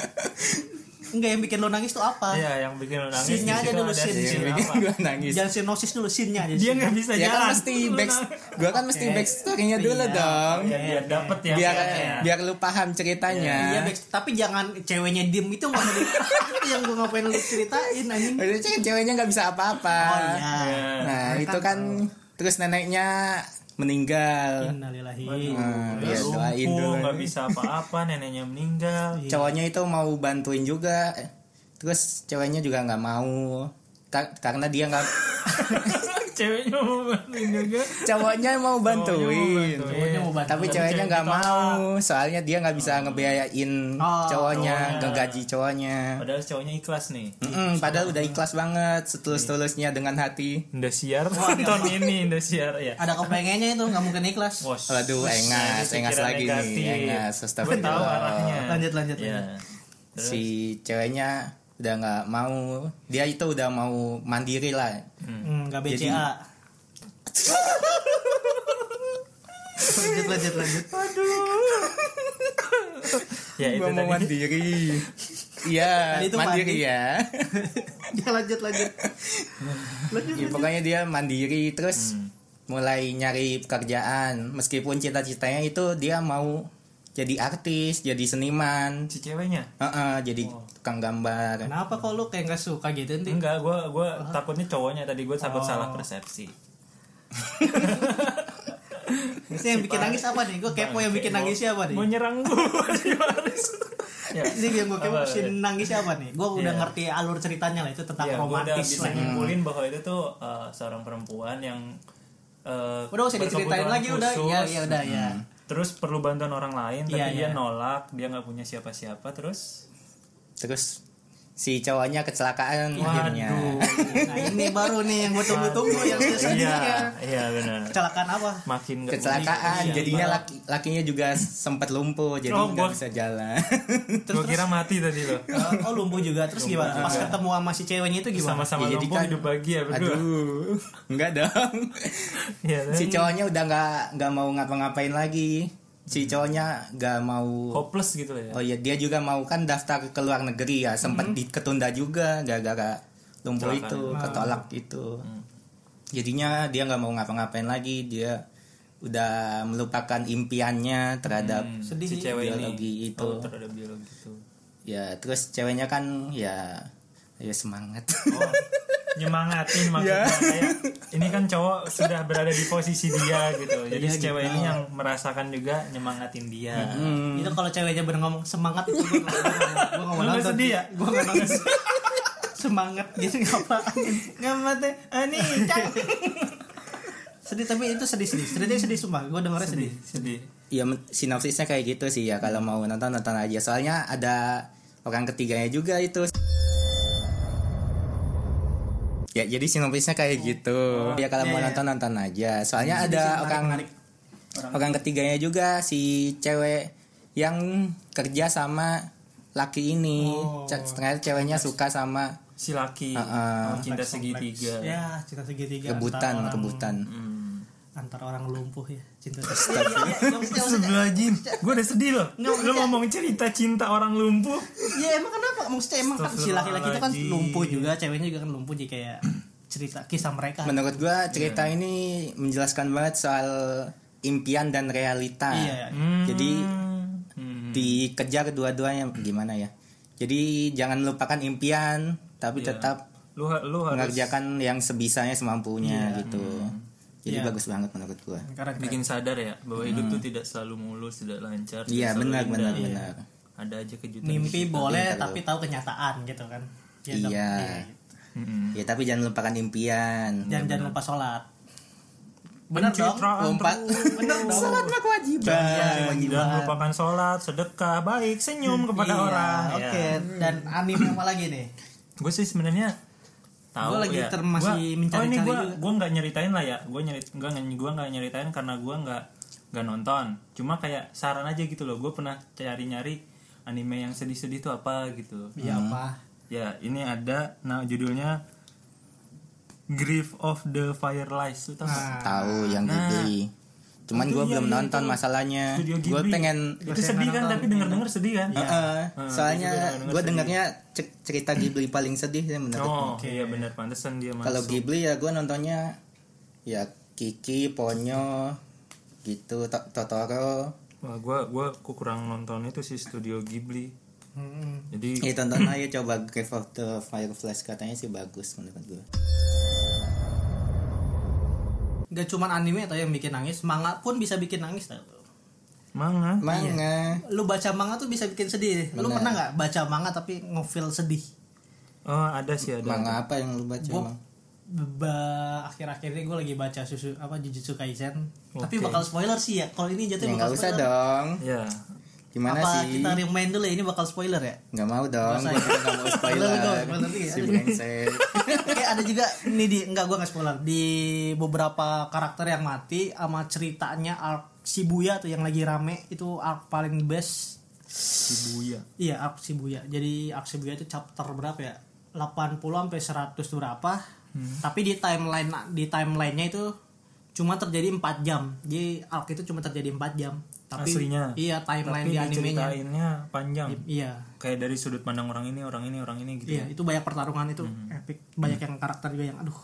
[SPEAKER 1] Enggak yang bikin lo nangis tuh apa?
[SPEAKER 2] Iya, yang bikin lo nangis
[SPEAKER 1] Scene-nya aja
[SPEAKER 2] di situ
[SPEAKER 1] dulu,
[SPEAKER 2] ada
[SPEAKER 1] scene,
[SPEAKER 2] scene
[SPEAKER 1] scene.
[SPEAKER 2] apa?
[SPEAKER 3] gue nangis.
[SPEAKER 1] Jangan sinosis dulu sinnya aja.
[SPEAKER 2] Dia nggak bisa
[SPEAKER 3] Ya
[SPEAKER 2] jalan.
[SPEAKER 3] kan mesti
[SPEAKER 2] Lu
[SPEAKER 3] back
[SPEAKER 2] nangis.
[SPEAKER 3] gua kan mesti backstory-nya dulu
[SPEAKER 1] Iya.
[SPEAKER 3] dong.
[SPEAKER 2] Ya, biar dapet ya.
[SPEAKER 3] Biar
[SPEAKER 2] kayaknya.
[SPEAKER 3] biar lu paham ceritanya.
[SPEAKER 1] Iya, Bex. tapi jangan ceweknya diem itu nggak usah di- Itu yang gue ngapain lu ceritain anjing.
[SPEAKER 2] Iya.
[SPEAKER 3] Udah cewek- ceweknya nggak bisa apa-apa.
[SPEAKER 1] Oh iya.
[SPEAKER 3] Nah, itu kan terus neneknya meninggal.
[SPEAKER 1] Innalillahi.
[SPEAKER 3] Nah, ya, doain
[SPEAKER 2] Lumpuh,
[SPEAKER 3] dulu. Iya.
[SPEAKER 2] nggak bisa apa-apa, neneknya meninggal.
[SPEAKER 3] cowoknya itu mau bantuin juga terus ceweknya juga nggak mau Ka- karena dia nggak
[SPEAKER 2] Ceweknya mau bantuin juga.
[SPEAKER 3] cowoknya mau bantuin
[SPEAKER 2] Cowoknya mau bantuin.
[SPEAKER 3] tapi ceweknya nggak mau soalnya dia nggak bisa ngebiayain
[SPEAKER 1] Oh,
[SPEAKER 3] cowoknya ngegaji cowoknya
[SPEAKER 2] Padahal cowoknya ikhlas nih.
[SPEAKER 3] Mm, padahal udah ikhlas banget setulus-tulusnya dengan hati
[SPEAKER 2] Indosiar nonton ini Indosiar ya.
[SPEAKER 1] Ada kepengennya itu nggak mungkin ikhlas.
[SPEAKER 2] Wos.
[SPEAKER 3] Waduh,
[SPEAKER 2] Wos,
[SPEAKER 3] engas,
[SPEAKER 2] ini
[SPEAKER 3] engas
[SPEAKER 2] pikiran
[SPEAKER 3] lagi nih,
[SPEAKER 2] Gua
[SPEAKER 3] engas,
[SPEAKER 2] tahu
[SPEAKER 3] astagfirullah.
[SPEAKER 2] arahnya.
[SPEAKER 1] Lanjut, lanjut,
[SPEAKER 2] Iya. Terus?
[SPEAKER 3] si ceweknya udah nggak mau dia itu udah mau mandiri lah
[SPEAKER 1] Hmm, nggak BCA.
[SPEAKER 3] Jadi-
[SPEAKER 1] lanjut lanjut lanjut.
[SPEAKER 2] Ya itu
[SPEAKER 3] Gua mau
[SPEAKER 2] tadi.
[SPEAKER 3] mandiri iya
[SPEAKER 1] Tadi itu
[SPEAKER 3] mandiri
[SPEAKER 1] mandi.
[SPEAKER 3] ya
[SPEAKER 1] Ya lanjut lanjut.
[SPEAKER 2] Iya,
[SPEAKER 1] Lanjut.
[SPEAKER 3] Ya, pokoknya dia mandiri terus
[SPEAKER 2] Hmm.
[SPEAKER 3] mulai nyari pekerjaan meskipun cita-citanya itu dia mau jadi artis jadi seniman
[SPEAKER 2] Si ceweknya.
[SPEAKER 3] Heeh, jadi tukang gambar
[SPEAKER 1] Kenapa kok lu kayak nggak suka gitu nanti?
[SPEAKER 2] Enggak, gue gua takutnya cowoknya tadi gue
[SPEAKER 3] Oh.
[SPEAKER 2] takut salah persepsi.
[SPEAKER 1] Biasanya yang bikin nangis apa nih? Gue kepo yang bikin nangis siapa nih?
[SPEAKER 2] Mau nyerang gue di Paris. ya.
[SPEAKER 1] Ini yang gue kepo
[SPEAKER 2] Apa,
[SPEAKER 1] si
[SPEAKER 2] ya?
[SPEAKER 1] nangis siapa nih? Gue udah
[SPEAKER 2] Iya.
[SPEAKER 1] ngerti alur ceritanya lah itu tentang
[SPEAKER 2] Ya, gua udah
[SPEAKER 1] romantis
[SPEAKER 2] bisa
[SPEAKER 1] lah. ya.
[SPEAKER 2] nyimpulin bahwa itu tuh eh, seorang perempuan yang eh,
[SPEAKER 1] Udah usah diceritain
[SPEAKER 2] berkebutuhan
[SPEAKER 1] lagi udah. Ya
[SPEAKER 2] khusus, Hmm.
[SPEAKER 1] ya udah ya.
[SPEAKER 2] Terus perlu bantuan orang lain, tapi
[SPEAKER 1] Iya,
[SPEAKER 2] dia
[SPEAKER 1] iya.
[SPEAKER 2] nolak, dia nggak punya siapa-siapa, terus
[SPEAKER 3] terus si cowoknya kecelakaan akhirnya
[SPEAKER 2] waduh,
[SPEAKER 1] Nah ini baru nih yang gue tunggu-tunggu yang ya.
[SPEAKER 2] iya,
[SPEAKER 1] biasanya.
[SPEAKER 2] iya benar.
[SPEAKER 1] Kecelakaan apa?
[SPEAKER 2] Makin nggak Iya,
[SPEAKER 3] kecelakaan
[SPEAKER 2] unik.
[SPEAKER 3] jadinya laki lakinya juga sempat lumpuh jadi
[SPEAKER 2] Oh,
[SPEAKER 3] nggak
[SPEAKER 2] gua-
[SPEAKER 3] bisa jalan
[SPEAKER 2] Gua kira mati tadi loh.
[SPEAKER 1] Oh lumpuh juga terus gimana? Pas ketemu sama si ceweknya itu gimana?
[SPEAKER 2] Sama-sama
[SPEAKER 3] Ya, jadi
[SPEAKER 2] lumpuh
[SPEAKER 3] kan-
[SPEAKER 2] hidup bahagia berdua.
[SPEAKER 3] aduh nggak dong
[SPEAKER 2] Iya,
[SPEAKER 3] si
[SPEAKER 2] kan?
[SPEAKER 3] cowoknya udah nggak nggak mau ngapa-ngapain lagi si cowoknya nggak mau
[SPEAKER 2] hopeless gitu lah Hmm. ya. Hmm.
[SPEAKER 3] Oh iya dia juga mau kan daftar ke luar negeri ya sempat diketunda juga gara-gara lumpuh
[SPEAKER 2] Kecelakaan. Hmm.
[SPEAKER 3] itu ketolak itu jadinya dia nggak mau ngapa-ngapain lagi dia udah melupakan impiannya terhadap
[SPEAKER 2] Hmm,
[SPEAKER 1] sedih
[SPEAKER 2] si
[SPEAKER 1] sih.
[SPEAKER 2] cewek
[SPEAKER 3] Biologi
[SPEAKER 2] ini.
[SPEAKER 3] itu.
[SPEAKER 2] Oh, terhadap biologi itu.
[SPEAKER 3] ya terus ceweknya kan ya ya semangat
[SPEAKER 2] Oh, nyemangatin maksudnya kayak ini kan cowok sudah berada di posisi dia gitu jadi si cewek ini yang merasakan juga nyemangatin dia
[SPEAKER 1] Itu kalau ceweknya bener ngomong semangat itu gue gue Hmm. nggak mau
[SPEAKER 2] Lu nggak
[SPEAKER 1] nonton.
[SPEAKER 2] sedih ya?
[SPEAKER 1] Gue nggak nonton. semangat gitu ngapain? Ngapain? Eh, teh? Anita. sedih tapi itu sedih sedih. Sedih sedih sumpah. Gue dengernya sedih.
[SPEAKER 2] sedih
[SPEAKER 3] ya men- sinopsisnya kayak gitu sih ya kalau mau nonton nonton aja soalnya ada orang ketiganya juga itu ya jadi sinopsisnya kayak gitu ya kalau mau nonton nonton aja soalnya ada orang orang ketiganya juga si cewek yang kerja sama laki ini Ce- Oh. ternyata ceweknya suka sama
[SPEAKER 2] si laki
[SPEAKER 3] Ah, ah.
[SPEAKER 2] cinta segitiga
[SPEAKER 1] Ya, cinta segitiga. antar
[SPEAKER 3] kebutan
[SPEAKER 1] orang-
[SPEAKER 3] kebutan
[SPEAKER 1] Antar orang lumpuh ya. Cinta
[SPEAKER 2] Astagfirullahaladzim Gue udah sedih loh Lu ngomong cerita cinta orang lumpuh
[SPEAKER 1] Ya emang kenapa? Maksudnya emang kan si laki-laki itu kan lumpuh juga, ceweknya juga kan lumpuh jadi kayak cerita kisah mereka.
[SPEAKER 3] menurut gua cerita ini menjelaskan banget soal impian dan realita
[SPEAKER 1] Iya, iya.
[SPEAKER 3] jadi
[SPEAKER 2] Hmm.
[SPEAKER 3] dikejar dua-duanya gimana ya jadi jangan melupakan impian tapi tetap
[SPEAKER 2] Lu, ha- lu harus
[SPEAKER 3] mengerjakan yang sebisanya semampunya gitu jadi bagus banget menurut gua
[SPEAKER 1] Karena
[SPEAKER 2] bikin sadar ya Bahwa hidup tuh tidak selalu mulus Tidak lancar tidak
[SPEAKER 3] iya
[SPEAKER 2] selalu
[SPEAKER 3] benar
[SPEAKER 2] indah.
[SPEAKER 3] benar benar
[SPEAKER 2] Ada aja kejutan
[SPEAKER 1] mimpi boleh tapi tahu kenyataan gitu kan. Ya, dok.
[SPEAKER 3] Iya.
[SPEAKER 1] gitu.
[SPEAKER 2] Mm-mm.
[SPEAKER 3] ya tapi jangan lupakan impian
[SPEAKER 1] Jangan jangan lupa sholat. Bener dong.
[SPEAKER 2] Pencitraan
[SPEAKER 3] Lompat.
[SPEAKER 2] terus.
[SPEAKER 3] sholat
[SPEAKER 1] Iya,
[SPEAKER 2] Iya,
[SPEAKER 3] mah
[SPEAKER 2] Jangan
[SPEAKER 3] kewajiban gitu.
[SPEAKER 2] melupakan sholat, sedekah, baik, senyum kepada
[SPEAKER 1] Iya,
[SPEAKER 2] orang.
[SPEAKER 1] Oke, dan anime apa lagi nih?
[SPEAKER 2] Gue sih sebenarnya tahu
[SPEAKER 1] Gua lagi
[SPEAKER 2] ya.
[SPEAKER 1] ter- masih
[SPEAKER 2] Gua-
[SPEAKER 1] mencari-cari
[SPEAKER 2] oh ini gue
[SPEAKER 1] juga.
[SPEAKER 2] gue nggak nyeritain lah ya. Gue nyerit gue gue nggak nyeritain karena gue nggak nggak nonton. Cuma kayak saran aja gitu loh. Gue pernah cari-nyari anime yang sedih-sedih itu apa gitu.
[SPEAKER 1] Ya
[SPEAKER 3] Hmm.
[SPEAKER 1] apa?
[SPEAKER 2] Ya ini ada. Nah judulnya Grief of the Firelights. Lu tahu nggak?
[SPEAKER 3] tahu yang Ghibli cuman gua belum nonton
[SPEAKER 1] Nah,
[SPEAKER 3] masalahnya
[SPEAKER 2] Studio
[SPEAKER 3] gua
[SPEAKER 2] Ghibli.
[SPEAKER 3] pengen
[SPEAKER 2] itu sedih kan tapi denger-denger sedih kan?
[SPEAKER 3] Iya.
[SPEAKER 1] Iya.
[SPEAKER 3] Heeh.
[SPEAKER 2] Heeh,
[SPEAKER 3] soalnya
[SPEAKER 2] gua juga denger-denger
[SPEAKER 3] gua
[SPEAKER 2] sedih.
[SPEAKER 3] dengarnya ce- cerita Ghibli paling sedih sih menurut gua.
[SPEAKER 2] Oh, oke ya benar pantesan dia masuk.
[SPEAKER 3] Kalau Ghibli ya gue nontonnya ya Kiki, Ponyo, gitu, To- Totoro.
[SPEAKER 2] Wah, gua gua ku- kurang nonton itu sih Studio Ghibli.
[SPEAKER 1] Hmm.
[SPEAKER 2] Jadi
[SPEAKER 1] Iya.
[SPEAKER 3] Ya tonton aja coba Grave of the Fireflies katanya sih bagus menurut gue.
[SPEAKER 1] Gak cuman anime atau yang bikin nangis, manga pun bisa bikin nangis tau.
[SPEAKER 2] manga
[SPEAKER 3] Manga.
[SPEAKER 1] Lu baca manga tuh bisa bikin sedih. Lu pernah nggak baca manga tapi ngefeel sedih?
[SPEAKER 2] oh, ada sih ada.
[SPEAKER 3] Manga apa yang lu baca?
[SPEAKER 1] Iya. Gua
[SPEAKER 3] Bang?
[SPEAKER 1] beba- akhir-akhir ini gue lagi baca susu apa Jujutsu Kaisen. Tapi bakal spoiler sih ya. Kalau ini
[SPEAKER 3] Ya
[SPEAKER 1] jatuh
[SPEAKER 3] nggak
[SPEAKER 1] bakal
[SPEAKER 3] usah
[SPEAKER 1] spoiler.
[SPEAKER 3] dong.
[SPEAKER 2] Ya.
[SPEAKER 3] Gimana
[SPEAKER 1] apa
[SPEAKER 3] sih?
[SPEAKER 1] kita remind dulu ya ini bakal spoiler ya?
[SPEAKER 3] Nggak mau dong.
[SPEAKER 1] Nggak usah.
[SPEAKER 3] Gue juga nggak mau spoiler.
[SPEAKER 1] Spoiler dong, spoiler nih,
[SPEAKER 3] si
[SPEAKER 1] aduh.
[SPEAKER 3] brengsek.
[SPEAKER 1] Oke ada juga nih di enggak gua nggak spoiler di beberapa karakter yang mati sama ceritanya arc Shibuya tuh yang lagi rame itu arc paling best
[SPEAKER 2] Shibuya.
[SPEAKER 1] Iya, arc Shibuya. Jadi arc Shibuya itu chapter berapa ya? 80 sampai 100 berapa?
[SPEAKER 2] Hmm.
[SPEAKER 1] Tapi di timeline di timelinenya itu cuma terjadi 4 jam. Jadi arc itu cuma terjadi 4 jam. Tapi
[SPEAKER 2] Aslinya.
[SPEAKER 1] iya timeline
[SPEAKER 2] Tapi
[SPEAKER 1] di animenya.
[SPEAKER 2] diceritainnya panjang.
[SPEAKER 1] Iya.
[SPEAKER 2] Kayak dari sudut pandang orang ini, orang ini, orang ini gitu. Mm-hmm.
[SPEAKER 1] Iya, itu banyak pertarungan itu epic. Banyak yang karakter juga yang aduh.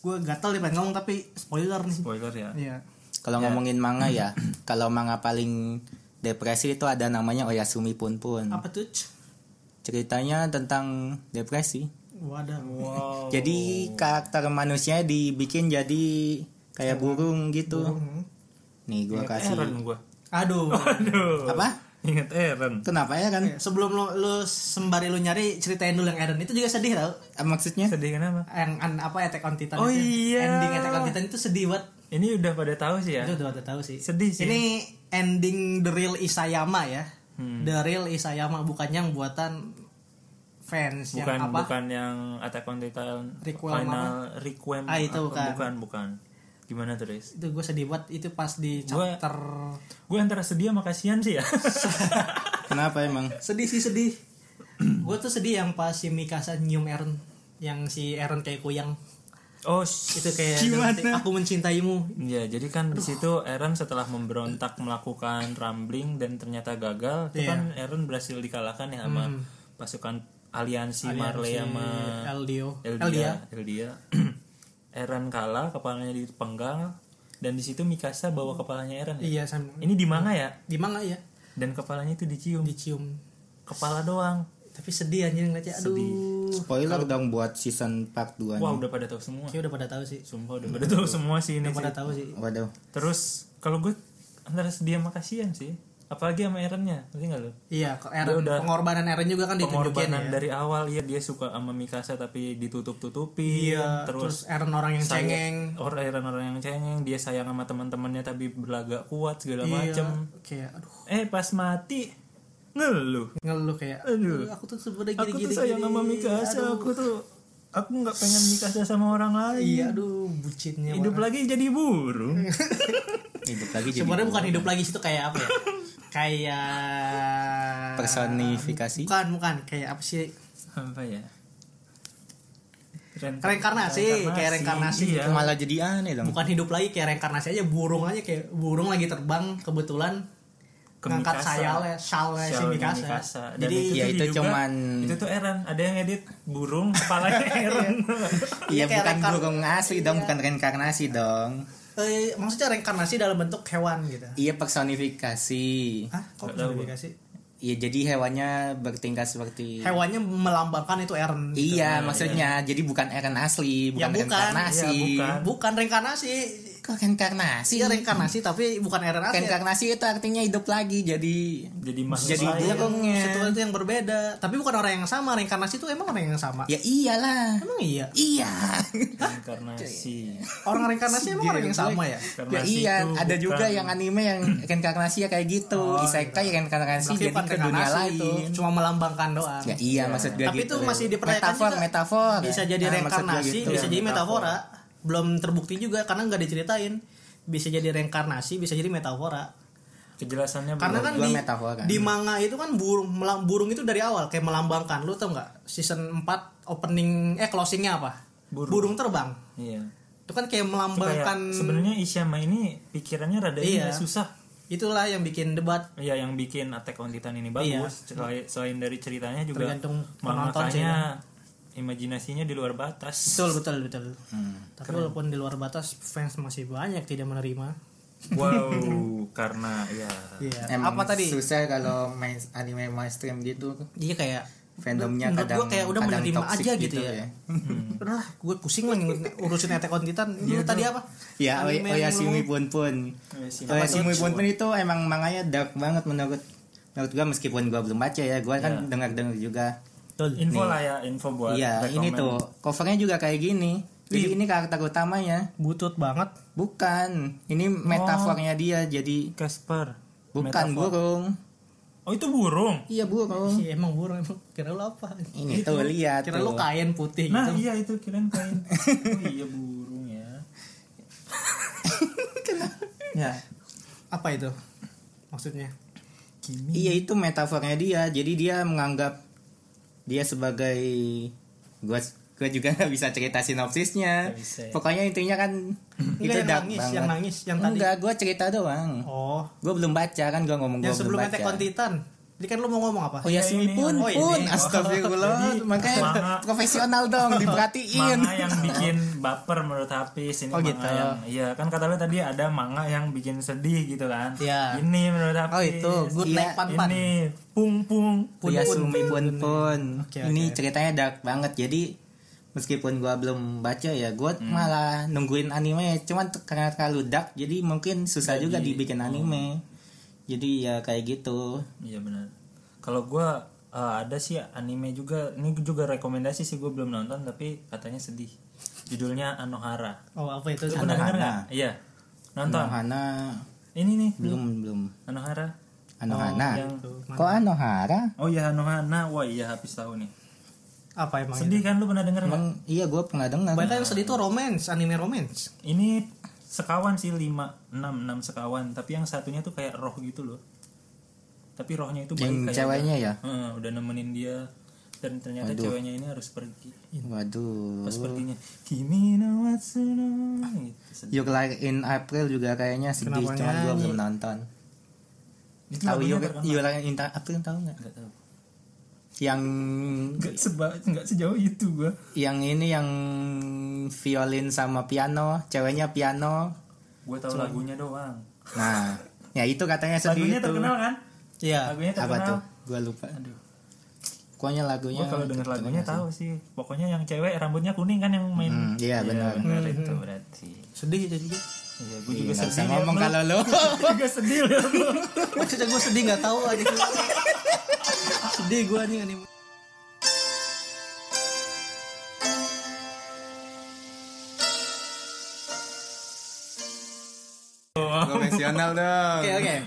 [SPEAKER 1] Gue gatel nih pengen ngomong tapi spoiler nih.
[SPEAKER 2] Spoiler ya.
[SPEAKER 1] Iya.
[SPEAKER 3] Kalau ngomongin manga ya, kalau manga paling depresi itu ada namanya Oyasumi Pun Pun.
[SPEAKER 1] Apa tuh? Ch?
[SPEAKER 3] Ceritanya tentang depresi.
[SPEAKER 1] Wadah. Oh.
[SPEAKER 2] Wow.
[SPEAKER 1] Iya,
[SPEAKER 3] Jadi karakter manusia dibikin jadi kayak burung gitu. Nih gua kasih.
[SPEAKER 2] Eren gua.
[SPEAKER 1] Aduh.
[SPEAKER 2] Aduh.
[SPEAKER 3] Apa?
[SPEAKER 2] Ingat eh, Eren.
[SPEAKER 3] Kenapa ya kan?
[SPEAKER 1] Sebelum lu, lu sembari lu nyari ceritain dulu yang Eren itu juga sedih tau
[SPEAKER 3] Eh, Maksudnya?
[SPEAKER 2] Sedih kenapa?
[SPEAKER 1] yang an- apa Attack on Titan
[SPEAKER 2] Oh
[SPEAKER 1] itu.
[SPEAKER 2] iya.
[SPEAKER 1] ending Attack on Titan itu sedih banget
[SPEAKER 2] Ini udah pada tahu sih ya.
[SPEAKER 1] itu udah udah tahu sih
[SPEAKER 2] Sedih sih.
[SPEAKER 1] ini ending the real Isayama ya
[SPEAKER 2] Hmm.
[SPEAKER 1] the real Isayama bukan yang buatan fans yang
[SPEAKER 2] bukan
[SPEAKER 1] apa
[SPEAKER 2] bukan yang Attack on Titan
[SPEAKER 1] Requiem
[SPEAKER 2] final
[SPEAKER 1] apa?
[SPEAKER 2] Requiem.
[SPEAKER 1] Ah, itu
[SPEAKER 2] apa,
[SPEAKER 1] bukan.
[SPEAKER 2] bukan bukan. Gimana terus?
[SPEAKER 1] itu gue sedih banget itu pas di
[SPEAKER 2] Gua-
[SPEAKER 1] chapter
[SPEAKER 2] Gue antara sedih sama kasihan sih ya.
[SPEAKER 3] Kenapa emang?
[SPEAKER 1] sedih sih sedih gue tuh sedih yang pas si Mikasa nyium Eren yang si Eren kayak kuyang
[SPEAKER 2] oh,
[SPEAKER 1] itu kayak "Dan aku mencintaimu
[SPEAKER 2] Ya, jadi kan di situ Eren setelah memberontak melakukan rambling dan ternyata
[SPEAKER 1] Iya.
[SPEAKER 2] gagal, itu kan Eren berhasil dikalahkan ya sama
[SPEAKER 1] Hmm.
[SPEAKER 2] pasukan aliansi, Marley Iya, sama
[SPEAKER 1] Eh, Eldio Eldia
[SPEAKER 2] Eldia. Eldia. Eren kalah, kepalanya dipenggal dan di situ Mikasa bawa kepalanya Eren. ya?
[SPEAKER 1] iya sam
[SPEAKER 2] Ini di manga ya?
[SPEAKER 1] di manga ya
[SPEAKER 2] Dan kepalanya itu dicium.
[SPEAKER 1] dicium
[SPEAKER 2] Kepala doang.
[SPEAKER 1] Tapi sedih anjir ngeliatnya. Aduh.
[SPEAKER 3] Spoiler dong buat season part 2
[SPEAKER 2] Wah udah pada tahu semua.
[SPEAKER 1] Kayak udah pada tahu sih.
[SPEAKER 2] Sumpah udah pada tahu semua sih ini.
[SPEAKER 1] Iya. Udah pada
[SPEAKER 2] sih.
[SPEAKER 1] tahu sih.
[SPEAKER 3] Waduh.
[SPEAKER 2] Terus kalau gue antara sedih sama kasihan sih. Apalagi sama Erennya, ngerti nggak lo?
[SPEAKER 1] Iya, kok Eren,
[SPEAKER 2] udah-
[SPEAKER 1] pengorbanan Eren juga kan ditunjukin
[SPEAKER 2] Pengorbanan
[SPEAKER 1] ya.
[SPEAKER 2] dari awal ya dia suka sama Mikasa tapi ditutup-tutupi.
[SPEAKER 1] Iya, terus, Eren orang yang
[SPEAKER 2] sayang-
[SPEAKER 1] cengeng.
[SPEAKER 2] Orang Eren orang yang cengeng, dia sayang sama teman-temannya tapi berlagak kuat segala
[SPEAKER 1] Iya,
[SPEAKER 2] macem.
[SPEAKER 1] kayak aduh
[SPEAKER 2] Eh pas mati ngeluh.
[SPEAKER 1] ngeluh kayak
[SPEAKER 2] Aduh.
[SPEAKER 1] aku tuh sebenarnya
[SPEAKER 2] Aku
[SPEAKER 1] gini-gini.
[SPEAKER 2] tuh sayang
[SPEAKER 1] gini.
[SPEAKER 2] sama Mikasa, aku tuh aku nggak pengen Mikasa sama orang lain.
[SPEAKER 1] Iya, aduh bucinnya.
[SPEAKER 2] Hidup lagi jadi burung.
[SPEAKER 3] Hidup lagi jadi
[SPEAKER 1] Sebenarnya bukan hidup lagi situ kayak apa ya? kayak
[SPEAKER 3] personifikasi.
[SPEAKER 1] Bukan, bukan kayak apa sih?
[SPEAKER 2] Apa ya?
[SPEAKER 1] Reinkarnasi, kayak reinkarnasi gitu.
[SPEAKER 2] Iya.
[SPEAKER 3] Malah jadi aneh dong.
[SPEAKER 1] ya. bukan hidup lagi kayak reinkarnasi aja burung aja kayak burung lagi terbang kebetulan
[SPEAKER 2] Ke
[SPEAKER 1] ngangkat
[SPEAKER 2] Mikasa.
[SPEAKER 1] sayalnya syalnya si
[SPEAKER 2] Shaolin
[SPEAKER 1] Mikasa.
[SPEAKER 2] Mikasa. Dan
[SPEAKER 1] jadi
[SPEAKER 3] ya,
[SPEAKER 2] tuh
[SPEAKER 3] itu
[SPEAKER 2] diduga-
[SPEAKER 3] cuman-
[SPEAKER 2] itu tuh Eren ada yang edit burung kepalanya Eren
[SPEAKER 3] Iya
[SPEAKER 1] kayak Iya.
[SPEAKER 3] bukan
[SPEAKER 1] reinkarn-
[SPEAKER 3] burung asli dong, bukan reinkarnasi dong.
[SPEAKER 1] eh, maksudnya reinkarnasi dalam bentuk hewan gitu
[SPEAKER 3] Iya personifikasi.
[SPEAKER 1] Hah? Kok
[SPEAKER 2] Nggak tahu
[SPEAKER 1] bisa dikasih?
[SPEAKER 3] Iya jadi hewannya bertingkat seperti
[SPEAKER 1] Hewannya melambangkan itu Eren. gitu.
[SPEAKER 3] Iya maksudnya jadi bukan Eren asli,
[SPEAKER 1] Ya,
[SPEAKER 3] bukan
[SPEAKER 1] bukan.
[SPEAKER 3] reinkarnasi.
[SPEAKER 2] Iya, bukan.
[SPEAKER 1] Bukan reinkarnasi.
[SPEAKER 3] Kok reinkarnasi?
[SPEAKER 1] Iya reinkarnasi tapi bukan Eren asli.
[SPEAKER 3] Reinkarnasi itu artinya hidup lagi jadi
[SPEAKER 2] jadi makhluk
[SPEAKER 3] jadi
[SPEAKER 2] lain.
[SPEAKER 1] Iya,
[SPEAKER 3] burungnya.
[SPEAKER 1] Sesuatu itu yang berbeda. Tapi bukan orang yang sama. Reinkarnasi itu emang orang yang sama.
[SPEAKER 3] Ya iyalah.
[SPEAKER 1] Emang iya.
[SPEAKER 3] Iya.
[SPEAKER 2] kan, reinkarnasi
[SPEAKER 1] Orang reinkarnasi emang orang yang sama ya.
[SPEAKER 3] Ya
[SPEAKER 2] Reinkarnasi
[SPEAKER 3] iya,
[SPEAKER 2] itu
[SPEAKER 3] ada
[SPEAKER 2] bukan-
[SPEAKER 3] juga yang anime yang reinkarnasi ya kayak gitu. Isekai reinkarnasi
[SPEAKER 1] Berarti
[SPEAKER 3] jadi
[SPEAKER 1] bukan
[SPEAKER 3] ke dunia
[SPEAKER 1] reinkarnasi
[SPEAKER 3] lain.
[SPEAKER 1] itu cuma melambangkan doang.
[SPEAKER 3] Ya iya maksud gue
[SPEAKER 1] Tapi itu
[SPEAKER 3] gitu.
[SPEAKER 1] masih dipertanyakan
[SPEAKER 3] metafor,
[SPEAKER 1] juga.
[SPEAKER 3] metafor.
[SPEAKER 1] Bisa jadi
[SPEAKER 3] Ah, maksud gua
[SPEAKER 1] reinkarnasi,
[SPEAKER 3] gitu.
[SPEAKER 1] bisa jadi
[SPEAKER 2] metafora.
[SPEAKER 1] metafora. Belum terbukti juga karena nggak diceritain. Bisa jadi reinkarnasi, bisa jadi metafora.
[SPEAKER 2] kejelasannya
[SPEAKER 1] Karena kan
[SPEAKER 3] Gua
[SPEAKER 1] di,
[SPEAKER 3] metafora.
[SPEAKER 1] di manga itu kan burung melam- burung itu dari awal kayak melambangkan. Lu tau nggak season 4 opening eh closingnya apa?
[SPEAKER 2] Burung.
[SPEAKER 1] Burung, terbang.
[SPEAKER 2] iya
[SPEAKER 1] Itu kan kayak
[SPEAKER 2] Itu kayak
[SPEAKER 1] melambangkan.
[SPEAKER 2] sebenarnya Isyama ini pikirannya rada
[SPEAKER 1] Iya.
[SPEAKER 2] ini susah
[SPEAKER 1] itulah yang bikin debat
[SPEAKER 2] Iya yang bikin Attack on Titan ini bagus Selain, selain dari ceritanya juga
[SPEAKER 1] Iya. Tergantung penonton sih, kan.
[SPEAKER 2] makanya imajinasinya di luar batas
[SPEAKER 1] betul betul betul.
[SPEAKER 3] Hmm,
[SPEAKER 1] Tapi walaupun di luar batas fans masih banyak tidak menerima.
[SPEAKER 2] wow karena ya
[SPEAKER 1] Iya.
[SPEAKER 3] Emang
[SPEAKER 1] Apa tadi?
[SPEAKER 3] susah kalau main anime mainstream gitu
[SPEAKER 1] Iya kayak
[SPEAKER 3] fandomnya
[SPEAKER 1] menurut
[SPEAKER 3] kadang
[SPEAKER 1] gua kayak udah
[SPEAKER 3] kadang
[SPEAKER 1] menerima
[SPEAKER 3] toxic
[SPEAKER 1] aja gitu ya. Udah lah, gue pusing
[SPEAKER 2] Hmm.
[SPEAKER 1] lah ngikut- urusin Attack on Titan. Lu tadi apa?
[SPEAKER 3] Ya, Iya, oh,
[SPEAKER 1] Anime yang lu-
[SPEAKER 3] Oyashimi Pun Pun. Oyashimi Pun Pun itu emang manganya dark banget menurut menurut gua meskipun gua belum baca ya, gua kan dengar-dengar juga.
[SPEAKER 2] info lah ya info buat
[SPEAKER 3] Iya, ini
[SPEAKER 2] rekomen.
[SPEAKER 3] tuh covernya juga kayak gini.
[SPEAKER 1] Iya.
[SPEAKER 3] Jadi ini karakter utamanya.
[SPEAKER 1] butut banget.
[SPEAKER 3] Bukan, ini
[SPEAKER 1] Oh.
[SPEAKER 3] metafornya dia jadi
[SPEAKER 2] Casper
[SPEAKER 3] bukan burung.
[SPEAKER 2] oh itu burung
[SPEAKER 3] Iya burung.
[SPEAKER 1] Iya emang burung emang kira lu apa? Gitu.
[SPEAKER 3] Ini tuh lihat
[SPEAKER 1] Kira lu
[SPEAKER 3] tuh.
[SPEAKER 1] kain putih
[SPEAKER 2] nah
[SPEAKER 1] gitu.
[SPEAKER 2] iya itu kirain kain oh iya burung ya
[SPEAKER 3] Ya.
[SPEAKER 1] Apa itu? Maksudnya?
[SPEAKER 2] Kimi
[SPEAKER 1] Hmm.
[SPEAKER 3] Iya itu metafornya dia. Jadi dia menganggap dia sebagai gua gua juga nggak bisa cerita sinopsisnya.
[SPEAKER 2] Nggak bisa ya.
[SPEAKER 3] Pokoknya intinya kan itu
[SPEAKER 1] Enggak yang
[SPEAKER 3] dark
[SPEAKER 1] nangis,
[SPEAKER 3] banget.
[SPEAKER 1] yang nangis, yang tadi.
[SPEAKER 3] Enggak, gua cerita doang.
[SPEAKER 1] Oh,
[SPEAKER 3] Gua belum baca kan gua ngomong
[SPEAKER 1] yang
[SPEAKER 3] gua belum
[SPEAKER 1] sebelum Attack on
[SPEAKER 3] baca.
[SPEAKER 1] Titan. Jadi kan lu mau ngomong apa?
[SPEAKER 3] Oh ya sini
[SPEAKER 2] ini,
[SPEAKER 3] pun
[SPEAKER 1] oh, ini.
[SPEAKER 3] pun
[SPEAKER 1] Oh.
[SPEAKER 3] astagfirullah
[SPEAKER 2] Jadi, manga-
[SPEAKER 3] makanya profesional dong diperhatiin.
[SPEAKER 2] manga yang bikin baper menurut Hafiz ini
[SPEAKER 3] Iya. Oh,
[SPEAKER 2] manga
[SPEAKER 3] gitu.
[SPEAKER 2] yang iya kan kata lu tadi ada manga yang bikin sedih gitu kan
[SPEAKER 1] Iya.
[SPEAKER 2] ini menurut Hafiz
[SPEAKER 3] Oh, itu.
[SPEAKER 1] Good
[SPEAKER 3] Iya,
[SPEAKER 1] night pan pan.
[SPEAKER 2] ini pung pung
[SPEAKER 3] Punya Sumi Pun Pun.
[SPEAKER 1] Oke,
[SPEAKER 3] Ini
[SPEAKER 1] oke.
[SPEAKER 3] ceritanya dark banget. Jadi meskipun gua belum baca ya, gua malah nungguin anime. Cuman t- karena terlalu dark, jadi mungkin susah juga dibikin anime. Jadi ya kayak gitu.
[SPEAKER 2] iya benar kalau gua eh, ada sih anime juga ini juga rekomendasi sih gua belum nonton tapi katanya sedih judulnya Anohara
[SPEAKER 1] Oh, apa itu?
[SPEAKER 2] lu pernah denger nggak iya nonton
[SPEAKER 3] Anohana
[SPEAKER 2] ini nih
[SPEAKER 3] belum belum.
[SPEAKER 2] Anohara
[SPEAKER 3] Anohana.
[SPEAKER 2] yang
[SPEAKER 3] Kok Anohara?
[SPEAKER 2] oh iya Anohana wah iya Hafiz tahu nih
[SPEAKER 1] Apa
[SPEAKER 3] Iya.
[SPEAKER 1] emang? itu?
[SPEAKER 2] sedih kan lu pernah denger nggak?
[SPEAKER 3] Emang iya gua pernah dengar.
[SPEAKER 1] Banyak kan? yang sedih itu romance, anime romance.
[SPEAKER 2] Ini sekawan sih 5 6 6 sekawan, tapi yang satunya tuh kayak roh gitu loh. Tapi rohnya itu
[SPEAKER 3] Yang
[SPEAKER 2] baik kayak
[SPEAKER 3] ceweknya ya.
[SPEAKER 2] Heeh, udah nemenin dia dan ternyata ceweknya ini harus pergi.
[SPEAKER 3] Oh. Waduh.
[SPEAKER 2] Pas perginya Kimi no Watsuno gitu. sedih.
[SPEAKER 3] Your Lie in April juga kayaknya sedih,
[SPEAKER 1] Kenapa
[SPEAKER 3] cuman gua
[SPEAKER 1] nyanyi?
[SPEAKER 3] belum nonton.
[SPEAKER 2] Itu
[SPEAKER 3] Tahu Iya.
[SPEAKER 2] lagunya
[SPEAKER 3] Your,
[SPEAKER 2] terkenal.
[SPEAKER 3] Your Lie in April tahu nggak?
[SPEAKER 2] Nggak tahu.
[SPEAKER 3] Yang
[SPEAKER 2] Nggak seba- nggak sejauh itu gua.
[SPEAKER 3] yang ini yang violin sama piano, ceweknya piano.
[SPEAKER 2] Gua tahu lagunya doang.
[SPEAKER 3] Nah, ya itu katanya sedih
[SPEAKER 2] Lagunya
[SPEAKER 3] itu.
[SPEAKER 2] terkenal kan?
[SPEAKER 1] Iya.
[SPEAKER 2] Lagunya
[SPEAKER 3] Apa
[SPEAKER 2] terkenal.
[SPEAKER 3] tuh? Gua lupa.
[SPEAKER 2] Aduh.
[SPEAKER 3] pokoknya lagunya
[SPEAKER 2] Gua kalau denger lagunya tahu sih. Pokoknya yang cewek rambutnya kuning kan yang main.
[SPEAKER 3] Hmm, iya, benar.
[SPEAKER 2] benar itu berarti.
[SPEAKER 1] sedih itu juga
[SPEAKER 2] Iya, gue juga
[SPEAKER 3] nggak usah
[SPEAKER 2] sedih.
[SPEAKER 3] ngomong kalau lo
[SPEAKER 2] Gue juga sedih liat lu.
[SPEAKER 1] maksudnya gue sedih nggak tahu lagi sedih gue nih anime
[SPEAKER 3] konvensional dong
[SPEAKER 1] oke oke